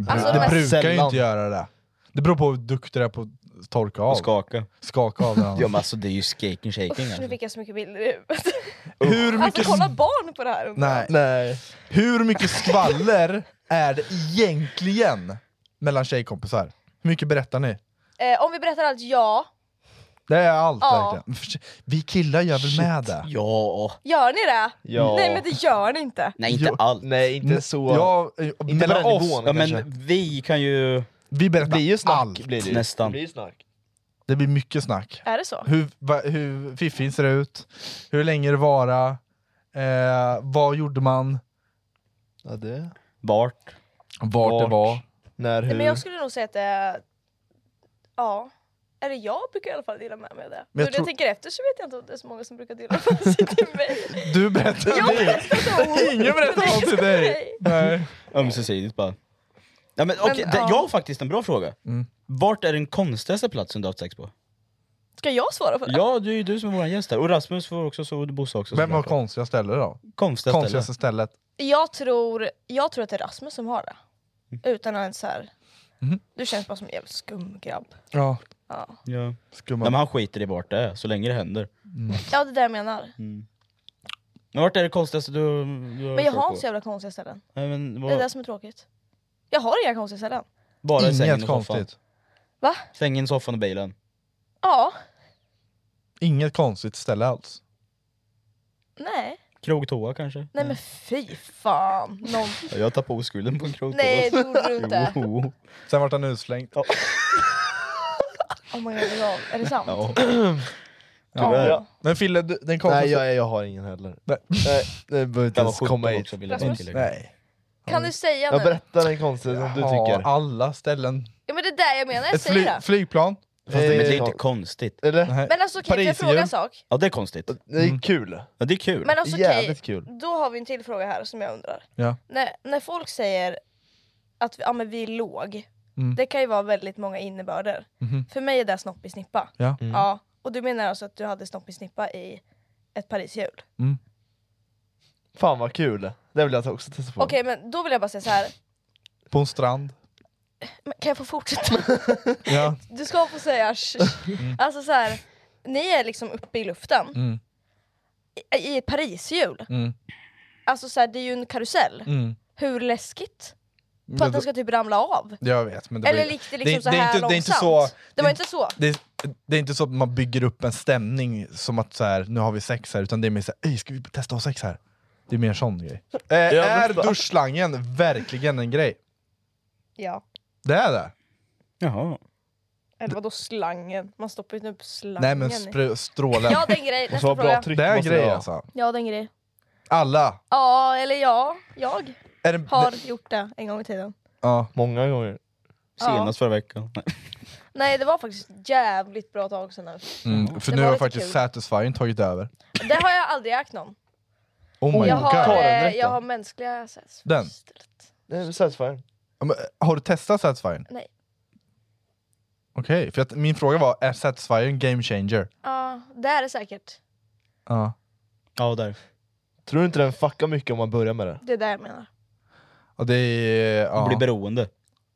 Alltså, det men- brukar ju Sällan. inte göra det. Det beror på hur duktig du är på att torka av. Och skaka. Skaka av den. Ja men alltså det är ju skaking shaking Usch, nu alltså. fick jag så mycket bilder i huvudet. Hur Alltså mycket, kolla barn på det här. nej. Hur mycket skvaller är det egentligen mellan tjejkompisar? Hur mycket berättar ni? Eh, om vi berättar allt, ja. Det är allt Ja. verkligen. Men för- Vi killar gör väl med det? Ja. Gör ni det? Ja. Nej men det gör ni inte. Nej inte allt. Nej inte så. Ja, eh, inte på mellan den oss. nivån Ja kanske. men vi kan ju... Vi berättar blir ju snack, allt. blir det ju. Nästan. Det blir ju snark. Det blir mycket snack. Är det så? Hur, va, hur fiffigt ser det ut? Hur länge det vara? Eh, vad gjorde man? Ja, det. Vart? Vart, det Vart? var? När, Nej, hur? men jag skulle nog säga att det är... Ja. Eller jag brukar i alla fall dela med mig av Men det. jag Men jag, tror- tänker efter så vet jag inte om det är så många som brukar dela med sig till mig. Du berättade Jag det! berättar om- Ingen berättade allt till dig! Nej. Nej. Ömsesidigt bara. Ja, men, Men, okej, ja. det, jag har faktiskt en bra fråga. Vart är den konstigaste platsen du har haft sex på? Ska jag svara på det? Ja, det är ju du som är vår gäst här. Och Rasmus får också så, och Bosse också. Vem har såklart. konstiga ställen då? konstigaste Konstigaste stället? Jag, tror, jag tror att det är Rasmus som har det. Utan att ens så här. Mhm. Du känns bara som en jävla skum grabb. Ja. Ja. Ja. Skumma. Nej, men han skiter i vart det är, så länge det händer. ja, det är det jag menar. Men vart är det konstigaste du, du Men jag kört har på? inte så jävla konstiga ställen. Nej, men, Det är det vad, som är tråkigt. Jag har inga konstiga ställen. bara i sängen Inget och soffan. konstigt. Va? Sängen, soffan och bilen. Ja. Inget konstigt ställe alls. Nej. Krog, toa kanske? Nej men fy fan. Någon... Ja, Jag tar på oskulden på en krog, Nej toa. det gjorde du inte. Jo. Sen vart han utslängd. Oh my god, är det sant? Ja. Tyvärr. Ja. Men Fille, du- den Nej konstigaste... jag, jag har ingen heller. Nej. Nej, det behöver inte Jag var ens komma 17 hit. också vill jag bara Rasmus? tillägga. Nej. Kan du säga Jag nu? berättar en konstig som du Ja, tycker. alla ställen. Ja men det är där jag menar, jag Ett fly säger det. flygplan. Fast det, men det är Eh, inte konstigt. Eller? Nej. Mm. Men alltså okej, får jag Parisium. fråga en sak? Ja det är konstigt. Det är kul. Ja, det är kul. Men alltså okej, Jävligt kul. då har vi en till fråga här som jag undrar. Ja. När, när folk säger att vi, ja, men vi är låg, Mm. det kan ju vara väldigt många innebörder. Mhm. För mig är det snoppig snippa. Ja. Mm. Ja, och du menar alltså att du hade snoppig snippa i ett Parishjul? Fan vad kul. Det vill jag också testa på. Okej men då vill jag bara säga så här. På en strand. Men kan jag få fortsätta? Ja. Du ska få säga sh, sh. Alltså så här, ni är liksom uppe i luften Mm. i, i Parishjul. Mm. Alltså så här, det är ju en karusell. Mm. Hur läskigt? På Men att den då- ska typ ramla av. Jag vet, men det Eller blir- gick det liksom så är här inte, det är inte så, långsamt? Det var inte så. Det är, det är inte så att man bygger upp en stämning som att så här, nu har vi sex här, utan det är mer såhär, "Ey, ska vi testa att ha sex här? Det är mer en sån grej. Eh, Jag är förstår. duschslangen verkligen en grej? Ja. Det är det? Jaha. Eller vadå slangen? Man stoppar ju upp slangen Nej men i- spr- strålen. Ja det är en grej, Måste vara nästa bra fråga. tryck det är en måste grej vara. alltså. Ja det är en grej. Alla. Ja, eller ja, jag Är det, har gjort det en gång i tiden. ja. Många gånger. Ja. Senast förra veckan. Nej. Nej det var faktiskt jävligt bra tag sedan nu. Mm, för Det nu var har lite faktiskt kul. Satisfying tagit över. Det har jag aldrig ägt någon. Oh my jag, god. har, eh, jag har mänskliga sets. Den? Satisfying. Ja, men, eh, Har du testat Satisfying? Nej. Okej, för att min fråga var, är Satisfying en game changer? Ja, det är det säkert. Ja. Ja, där. Tror du inte den fuckar mycket om man börjar med det? Det är det jag menar. Och det är... Man blir beroende.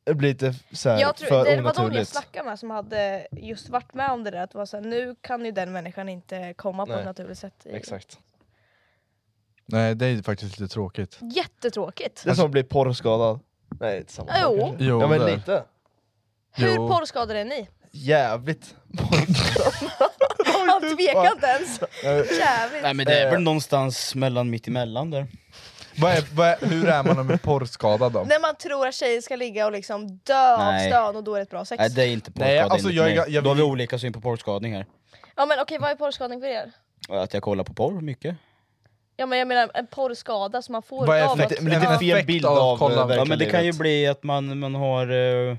Det blir lite så här, Jag tror, för det var de jag onaturligt. snackade med som hade just varit med om det där, att det var så här, nu kan ju den människan inte komma på Nej. ett naturligt sätt. I... Exakt. Nej, det är faktiskt lite tråkigt. Jättetråkigt! Alltså, Det är som att bli porrskadad. Nej, det är inte samma sak Jo. kanske. Jo, Ja men det är. lite. Hur porrskadade är ni? Jävligt. Han tvekar inte ens! Jävligt! Nej men det Eh. är väl någonstans mellan mitt emellan där. Vad är, vad är, hur är man om man är porrskadad då? När man tror att tjejer ska ligga och liksom dö Nej. av stön och då är det ett bra sex. Nej det är inte porrskada Nej, alltså, enligt jag- mig. jag- jag Då har vi olika syn på porrskadning här. Ja men okej, vad är porrskadning för er? Att jag kollar på porr mycket. Ja men jag menar en porrskada som man får Vad är av effekt- något. men det är Ja. fel bild av, eh, Ja verkliga men det kan ju livet. bli att man, man har... eh,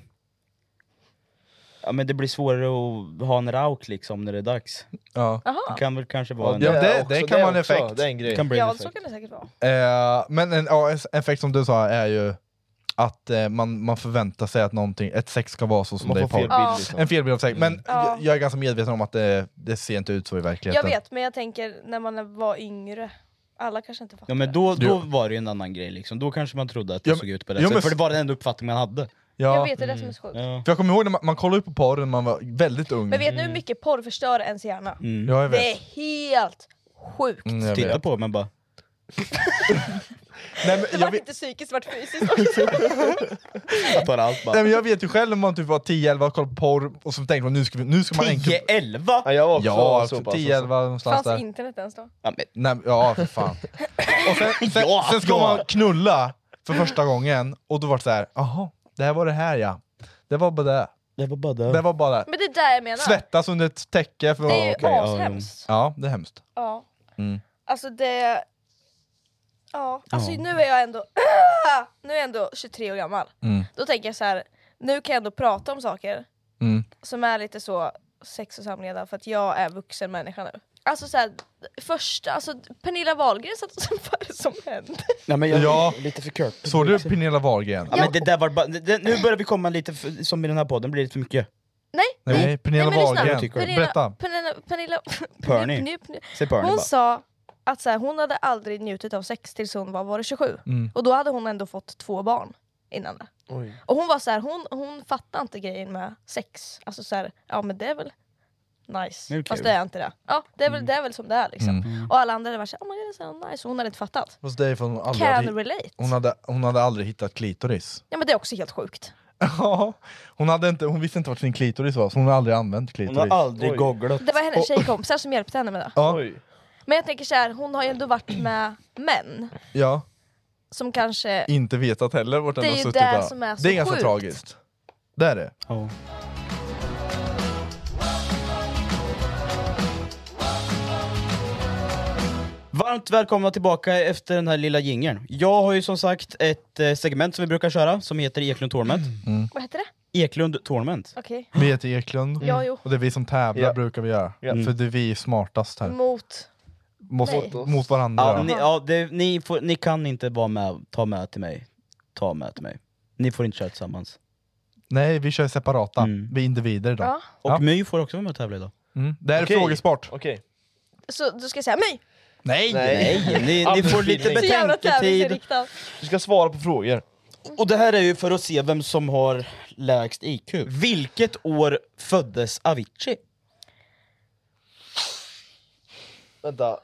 ja men det blir svårare att ha en rauk liksom när det är dags. Ja. Aha. Det kan väl kanske vara en... Ja, det- det kan vara en effekt. Det kan bli en ja effekt. så kan det säkert vara. Eh, men en ja, en effekt som du sa är ju att eh, man, man förväntar sig att någonting, ett sex ska vara så som Man det är får fel porr. bild, Ja. liksom. En felbild av sex. Men Ja. jag, jag är ganska medveten om att det, det ser inte ut så i Jag verkligheten. vet men jag tänker när man var yngre, alla kanske inte fattar. Ja men då, då Jo. var det ju en annan grej liksom, då kanske man trodde att det Ja, men- såg ut på det ja, sättet, men- för det var den enda uppfattningen man hade. Ja. Jag vet, det är det som är så sjukt. Ja. För jag kommer ihåg när man, man kollade ju på porr när man var väldigt ung. Men vet ni hur mycket porr förstör ens hjärna? Mm. Ja, jag vet. Det är helt sjukt! Mm, jag Titta vet. på men bara... Nej, Det men jag, vart vet, inte psykiskt, det vart fysiskt också. Jag tar allt bara. nej, men jag vet ju själv när man typ var 10-11 och kollade på porr och så tänkte man nu ska, vi, nu ska man enkelt... 10-11? Ja, jag var också Ja, så pass, 10-11 alltså. någonstans Fanns där. internet ens då? Ja, men... Nej, men- ja för fan. Och sen, sen, Ja, sen ska ja. man knulla för första gången och då var det så här, jaha, det här var det här ja. Det var bara det. Det var bara det. Det var bara det. Men det är där jag menar. Svettas under ett täcke. För Det är ju Okej, ja, ashemskt. Ja, det är hemskt. Ja. Mm. Alltså det... Ja, alltså Ja. nu är jag ändå... nu är jag ändå 23 år gammal. Mm. Då tänker jag så här, nu kan jag ändå prata om saker Mm. som är lite så sex och samlevnad för att jag är vuxen människa nu. Alltså såhär, första, alltså Pernilla Wahlgren satt och vad är det som hände? Nej, men jag Ja. är lite för kört. Såg du Pernilla Wahlgren? Ja, men det där var bara, det, det, nu börjar vi komma lite, för, som i den här podden, blir det för mycket. Nej! Nej, Pernilla men lyssna. Wahlgren. Pernilla, Berätta. Pernilla, Pernilla, Perny. Pernilla- Pernilla- Säg Perny Hon bara. sa att så här, hon hade aldrig njutit av sex tills hon var, var det 27. Mm. Och då hade hon ändå fått två barn innan det. Och hon var så här, hon, hon fattade inte grejen med sex. Alltså så här, ja men det är väl nice. Det är kul. Fast det är inte det. Ja, det är väl, det är väl som det är liksom. Mm. Och alla andra hade varit såhär, oh my god det är så nice. Och hon hade inte fattat. Fast det är för hon aldrig Can hade, relate. hon, hade, hon hade aldrig hittat klitoris. Ja men det är också helt sjukt. Ja, hon, hade inte, hon visste inte vart sin klitoris var, så hon har aldrig använt klitoris. aldrig Oj. googlat. Det var hennes tjejkompisar som hjälpte henne med det. Ja. Men jag tänker såhär, hon har ju ändå varit med män. ja. Som kanske... Inte vetat heller vart den Det är har ju suttit. det va? som är så det är ganska sjukt. tragiskt. Det är det. Varmt välkomna tillbaka efter den här lilla jingeln. Jag har ju som sagt ett eh, segment som vi brukar köra, som heter Eklund Torment. Mm. Vad heter det? Eklund Torment. Okej. Vi heter Eklund, Ja, jo. och det är vi som tävlar Ja. brukar vi göra. Ja. För det är vi smartast här. Mot... Mot, Mm. Nej. mot varandra. Ja, ni, ja, det, ni, får, ni kan inte vara med, ta med till mig. Ta med till mig. Ni får inte köra tillsammans. Nej, vi kör separata. Mm. Vi är individer idag. Ja. Och My får också vara med och tävla idag. Mm. Det här är Okej. frågesport. Så du ska jag säga mig? Nej! Nej, ni, ni får lite Så jävla betänketid. tävlingsinriktad. Du ska svara på frågor. Och det här är ju för att se vem som har lägst IQ. Vilket år föddes Avicii? Vänta. Eh,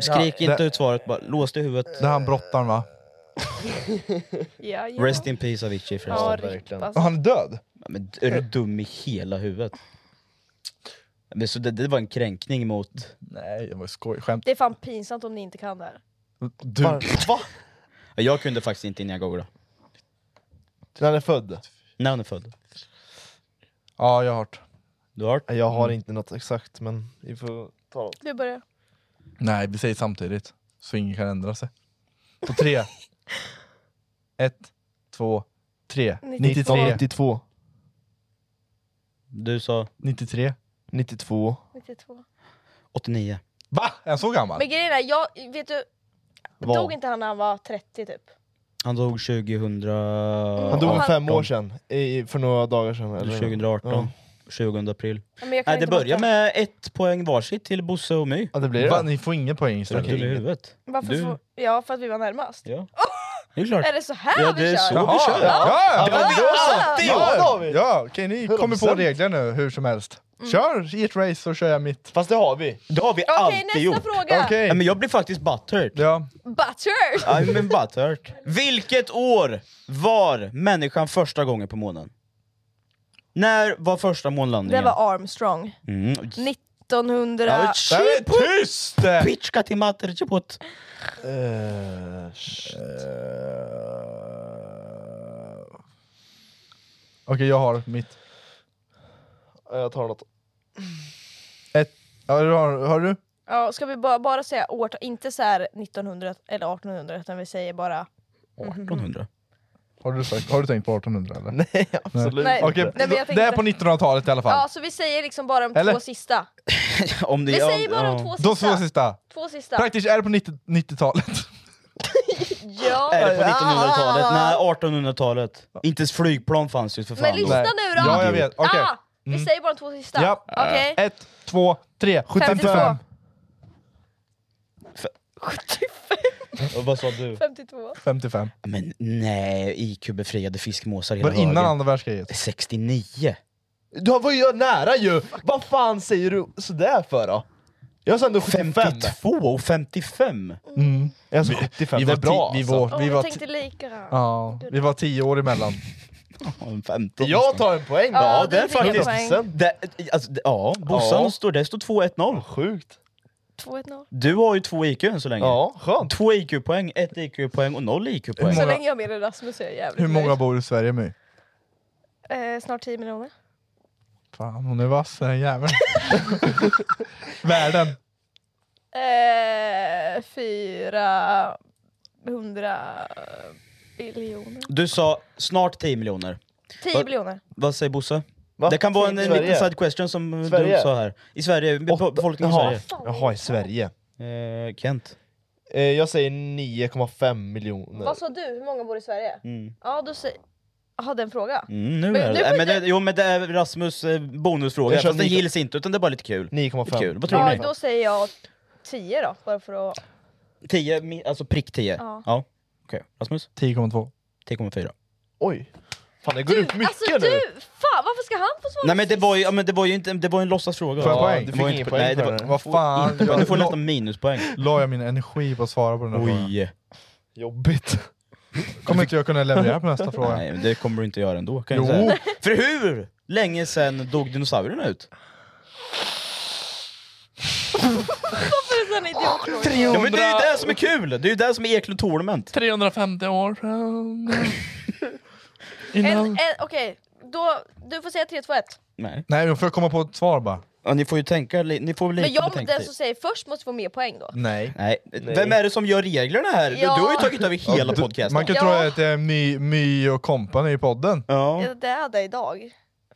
Skrik Ja, inte det- ut svaret bara, lås det i huvudet. Det är han brottaren va? Ja, ja. Rest in peace Avicii Ja, förresten. rip, Verkligen. alltså. Och han är död? Ja, men är du dum i hela huvudet? Men så det, det var en kränkning mot... Nej, det var skoj, skämt. Det är fan pinsamt om ni inte kan det här. Du. Va? Jag kunde faktiskt inte innan jag googlade. När han är född? När han är född. Ja, jag har hört. Du har hört? Jag har Mm. inte något exakt men vi får ta något. Du börjar. Nej, vi säger samtidigt. Så ingen kan ändra sig. På tre. Ett, två, Tre. 92. 92. Du sa? 93. 92. 92. 89. Va? Är han så gammal? Men grejen är, jag, vet du, Vad? dog inte han när han var 30 typ? Han dog 2000... Han dog för fem år sedan, i, för några dagar sedan. Eller? 2018. Ja. 20 april. Ja, men jag kan Nej, det inte börjar låta- med ett poäng varsitt till Bosse och My. Ja, det blir det. Va? Ni får ingen poäng istället. Är du dum i huvudet? Varför Du- får, ja, för att vi var närmast. Ja. Det är klart. Är det så här Ja, vi det är kör? så Jaha, vi kör. Ja, men det är ja, alltid ja, jag, ja, David. ja, okej ni kommer på 100%. regler nu hur som helst. Mm. Kör ert race så kör jag mitt. Fast det har vi. Det har vi Okej, alltid nästa gjort. fråga. Okej. Nej, men jag blir faktiskt butthurt. Ja. Butter! I'm been butthurt. Vilket år var människan första gången på månen? När var första Det månlandningen? var Armstrong. Mm. 1900... Ja, tyst! Pitchka till matter, chipot. Eh, Okej jag har mitt. Jag tar något. Ett. Ja, du har, har du? Ja, ska vi bara, bara säga årtal, inte så här 1900 eller 1800 utan vi säger bara... 1800? Har du, sagt, har du tänkt på 1800 eller? Nej absolut Nej. Okej, Nej, men jag det är tänkte- på 1900-talet i alla fall. Ja, så vi säger liksom bara de Eller? två sista. Om Vi säger bara de två sista. De två sista. Två sista. Praktiskt är det på 90 90-talet. Ja. Är det på 1900-talet? Nej, 1800-talet. Inte ens flygplan fanns ju för fan Men lyssna då. nu då! Ja, jag vet. Okej. Ah, vi Mm. säger bara de två sista. Ja. Eh. Okej. Ett, två, tre. 52. 75. Och vad sa du? 52. 55. Men nej, IQ-befriade fiskmåsar hela Var det innan högen. andra världskriget? 69. Du var ju nära ju! Vad fan säger du sådär för då? Jag sa ändå 75. 52 och 55. Mm. Alltså 75, vi det är var bra ti- vi alltså. var- Åh, vi vi var tänkte ti- lika. Ja, vi var tio år emellan. Jag tar en poäng då! Ja, det är du fick en poäng. faktiskt... Det, alltså, det, ja, Bossan Ja. står... Det står 2-1-0. Sjukt. 2-1-0. Du har ju två IQ än så länge. Ja, skönt. Två IQ-poäng, ett IQ-poäng och noll IQ-poäng. Så länge jag har med dig Rasmus är jag jävligt Hur många nöjd. bor i Sverige My? Eh, snart 10 miljoner. Fan, hon är vass den jäveln. Världen. Eh, 400 miljoner. Du sa snart 10 miljoner. 10 Vad- miljoner. Vad säger Bosse? Va? Det kan vara en, Säg en liten Sverige. side question som Sverige. du sa här. I Sverige, befolkningen i Jaha, Sverige. Jaha, i Sverige. Eh, Kent. Eh, jag säger 9,5 miljoner. Vad sa du? Hur många bor i Sverige? Mm. Ja, då säger... Jaha, den frågan. Mm, nu Men är nu det. får Äh, men du- det. Jo men det är Rasmus eh, bonusfråga, Jag kör fast den nio- gills inte utan det är bara lite kul. 9,5. Kul. Vad tror Ja, ni? då säger jag 10 då, bara för att... 10, mi- alltså prick 10? Ja. Okej, Rasmus? 10,2. 10,4. Oj. Fan det går upp mycket alltså nu. du! Fan, varför ska han få svara Nej men det var ju, ja, men det var ju inte, det var ju en låtsasfråga. Får jag poäng? det Du var fick inte ingen po- poäng Nej, det för var, den. Vad fan. inte, poäng. du får la- nästan minuspoäng. La jag min energi på att svara på den här frågan? Oj. Jobbigt. Kommer inte jag kunna leverera på nästa fråga? Nej men det kommer du inte göra ändå kan jag Jo. säga. För hur länge sen dog dinosaurierna ut? Varför är det sån idiotfråga? Ja, men det är ju det som är kul! Det är ju det som är Eklund Tournament. 350 år sedan. En- Innan... en- Okej, då... Du får säga 3, 2, 1. Nej. Nej, jag får komma på ett svar bara. Ja, ni får ju tänka, li- ni får väl Men lite jag, alltså den betänketid. som säger först måste få mer poäng då. Nej. Nej. Vem är det som gör reglerna här? Du, du Ja. har ju tagit över hela Du- podcasten. Man kan Ja. tro att det är My, My och Company i podden. Ja. Ja. Det är det idag.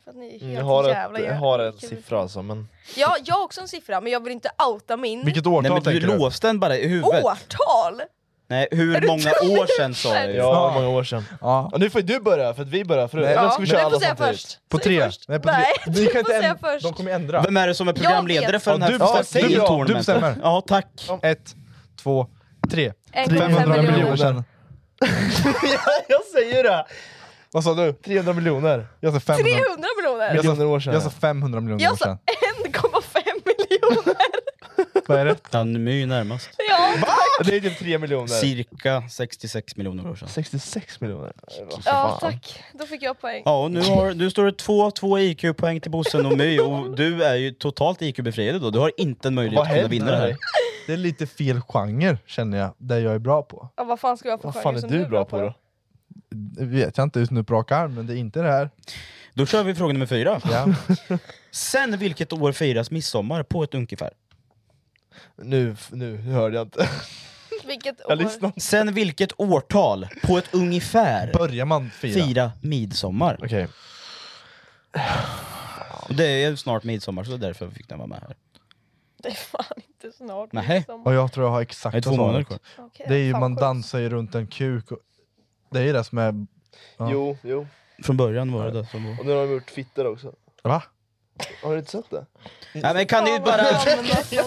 För att ni är helt Mm, Jag har, jävla ett, jag har en siffra alltså men... Ja, jag har också en siffra, men jag vill inte outa min. Vilket årtal Nej men du tänker du? låste den bara i huvudet. Årtal! Nej, hur många år sedan sa jag ju. Ja, Ja. många år sedan. Ja. Ja, nu får du börja för att vi börjar förut. Nej, Eller Ja, ska vi köra du alla får säga samtidigt? först. På Säg tre? Först. Nej, på Nej, tre. du Ni kan får inte säga ändra. först. De kommer ändra. Vem är det som är programledare för Ja, den här du ja, bestämmer. Du- du tournamenten? bestämmer. Ja, tack. Ett, två, tre. 1,5 500 miljoner miljoner. sedan. Ja, jag säger det! Vad sa du? 300 miljoner. Jag sa 500, 300 miljoner! jag sa- miljoner år sedan. jag sa 500 miljoner år Jag sa sedan. 1,5 miljoner! Vad är det? Danmy närmast. Ja, Det är typ 3 miljoner. Cirka 66 miljoner år sedan. 66 miljoner. Nej, vad ja fan. tack. Då fick jag poäng. Ja, och nu, har, nu står det 2 2 IQ-poäng till Bossen och My och du är ju totalt IQ-befriad då. Du har inte en möjlighet Vad att kunna händer vinna det här. här? Det är lite fel genre känner jag, det jag är bra på. Ja, vad fan ska jag få Vad fan är som du bra på då? Det vet jag inte just nu på rak arm, men det är inte det här. Då kör vi fråga nummer fyra. Ja. Sen vilket år firas midsommar på ett ungefär? Nu, nu hörde jag inte. Vilket år? Jag lyssnar. Sen vilket årtal, på ett ungefär, börjar man fira, midsommar? Och Det är ju snart midsommar, så det är därför fick den vara med här. Det är fan inte snart Nej. midsommar. Och jag tror jag har exakt Det är två månader kvar. Okej, Det är ju, fan man sjukt. dansar ju runt en kuk. Och, det är ju det som är... Ja. Jo, jo. Från början var det det som var... Och nu har de gjort fitter också. Va? Har du inte sett det? Nej men kan ni bara... Jag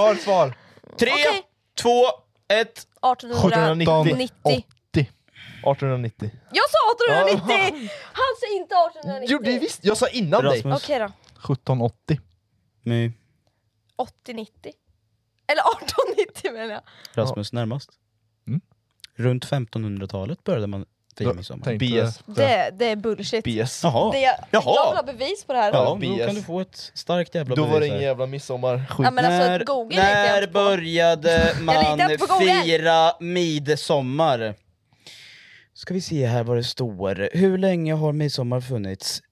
har ett svar. Tre, två, ett... 1890. 1890. Jag sa 1890! Han sa inte 1890! Jo, det är visst. Jag sa innan dig. Okej då, 1780. Nej, 80-90. Eller 1890 menar jag. Rasmus närmast. Mm. Runt 1500-talet började man fira midsommar. BS. Det, det är bullshit. BS. Jaha. Det, jag, jag vill ha Jaha. bevis på det här. Ja, då kan du få ett starkt jävla Då var det bevis ingen här. jävla midsommar. Ja, men alltså, Google litar jag när inte började litar man inte på Google. fira midsommar? Ska vi se här vad det står. Hur länge har midsommar funnits?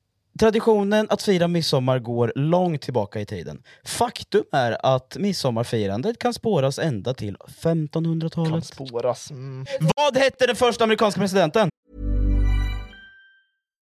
Traditionen att fira midsommar går långt tillbaka i tiden. Faktum är att midsommarfirandet kan spåras ända till 1500-talet. Spåras. Mm. Vad hette den första amerikanska presidenten?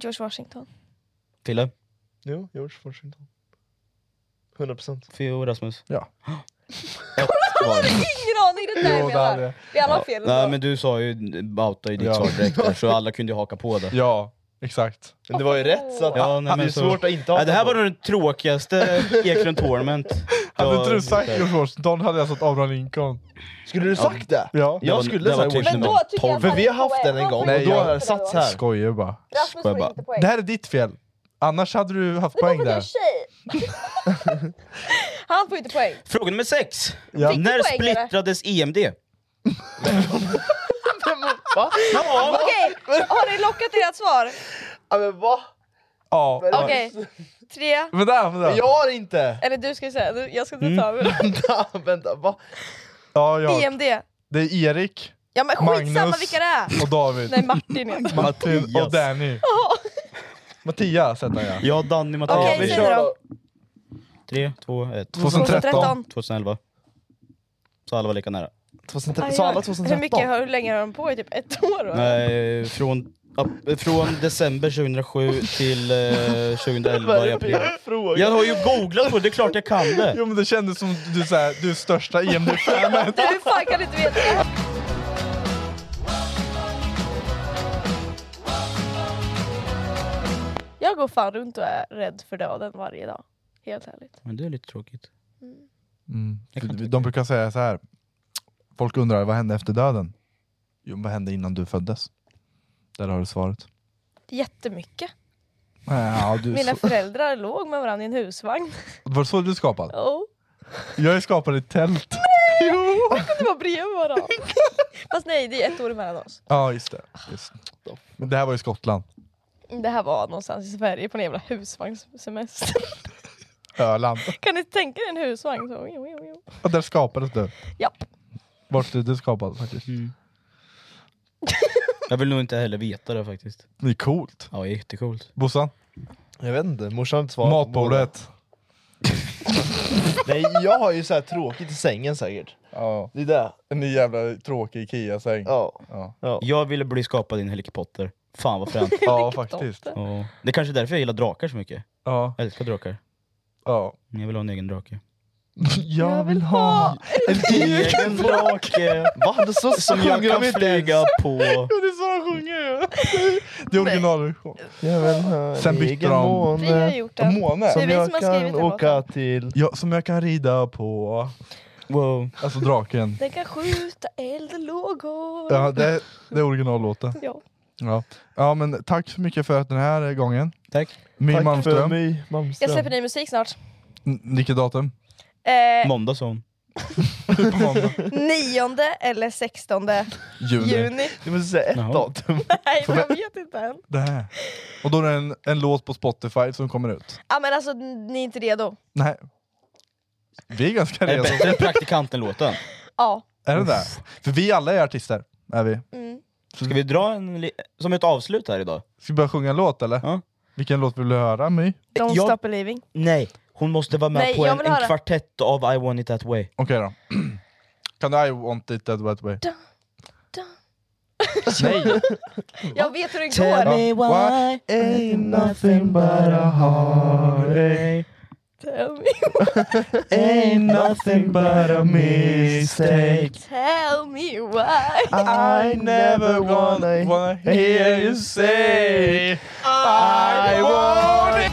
George Washington. Fille? Jo, George Washington. 100%. Fio Rasmus? Ja. Jag hade ingen aning, det Jo, där jag det hade menar. jag. Vi alla har fel. Nej men du sa ju, outade ju ditt Ja. svar direkt där, så alla kunde ju haka på det. Ja, exakt. Men det var ju rätt så att Ja, nej, det är men ju så- svårt att inte nej, ha Det här var nog den tråkigaste Eklund Tournament. Hade Jag- inte du sagt George Washington hade jag sagt Abraham Lincoln. Skulle du sagt det? typ Ja. Jag skulle sagt Washington. Men då tycker jag att För vi har han haft får den en gång Nej, och då jag- har den satts här. Skojar bara. Rasmus får inte poäng. Det här är ditt fel. Annars hade du haft Det var poäng för att jag är där. tjej. Han får inte poäng. Fråga nummer sex. Ja. Fick du När poäng, eller? splittrades E EMD? Va? Okej, har ni lockat ert svar? Ja, men va? Ja. Okej, tre... Vänta, vänta. Men jag har inte! Eller du ska säga, du- jag ska inte ta över. Vänta, vänta, va? Ja, jag. EMD. Det är Erik, Ja men skitsamma Magnus. vilka det är! och David, Nej Martin heter han. Martin och Danny. Mattias heter jag. Ja, Danny Mattias. Okej, säg det då. 3, 2, 1. 2013. 2011. Så alla var lika nära. 2013. Aj, aj. Hur, mycket, hur länge har de på i? Typ ett år? då? Nej, från, ap- från december 2007 till eh, 2011 i april. fråga? Jag har ju googlat på det, det är klart jag kan det. Jo men det kändes som du, så här, du är största EMD-fanet. Du, hur fan kan du inte veta det? Jag går fan runt och är rädd för döden varje dag. Helt ärligt. Men det är lite tråkigt. Mm. De brukar säga så här. folk undrar vad hände efter döden? Jo, vad hände innan du föddes? Där har du svaret. Jättemycket. Ja, du, Mina så, föräldrar låg med varandra i en husvagn. var det så du blev skapad? Oh. Jag är skapad i ett tält. Jag kunde vara bredvid varandra. Fast nej, det är ett år emellan oss. Ja, just det. Just. det. Men det här var i Skottland. Det här var någonstans i Sverige på en jävla husvagnssemester. Öland. Kan ni tänka er en husvagn? Så, jo, jo, jo. Och där skapades du. Japp. Vart är du skapad faktiskt. Jag vill nog inte heller veta det faktiskt. Det är coolt. Ja, jättecoolt. Bossan? Jag vet inte, morsan har inte svarat. Matbordet. Nej, jag har ju så här tråkigt i sängen säkert. Ja. Det är det. En ny jävla tråkig Ikea-säng. Ja. Ja. Jag ville bli skapad i en Harry Potter. Fan vad fränt. Ja, faktiskt. Ja. Det är kanske är därför jag gillar drakar så mycket. Ja. Jag älskar drakar. Ja. Jag vill ha en egen drake. Jag vill ha en egen drake! Va? Det så Som jag sjunger kan de inte ens. flyga på. det är så de sjunger ju! Det är originalversion. Jag vill ha Sen en bytte egen de- måne. Vi har gjort den. eh, Måne. Det är Som vi jag som har skrivit kan den låten. åka till. Ja, som jag kan rida på. Wow. Alltså draken. Den kan skjuta eld lågor. Ja, det, det är originallåten. Ja. Ja. ja, men tack så mycket för den här gången. Tack. My Tack för Malmström. mig, Malmström. Jag släpper ny musik snart. N- Vilket datum? Eh, Måndag sa hon. nionde eller sextonde Juni. juni. Du måste säga ett Jaha. datum. Nej, jag vet inte än. Det här. Och då är det en, en låt på Spotify som kommer ut. Ja men alltså, ni är inte redo? Nej. Vi är ganska Är det redo. bättre än praktikanten-låten? Ja. Är det där? För vi alla är artister. Är vi. Mm. Ska vi dra en, li- som ett avslut här idag? Ska vi börja sjunga en låt eller? Vilken låt vill du höra My? Don't Jag- stop believing. Nej, hon måste vara med Nej, på jag en, vill en höra. kvartett av I want it that way. Okej då. Kan du I want it that wet way? Nej. jag vet hur det Tell går. me why ain't nothing but a heartache Tell me, Ain't nothing but a mistake tell me why. I never wanna, wanna hear you say I want it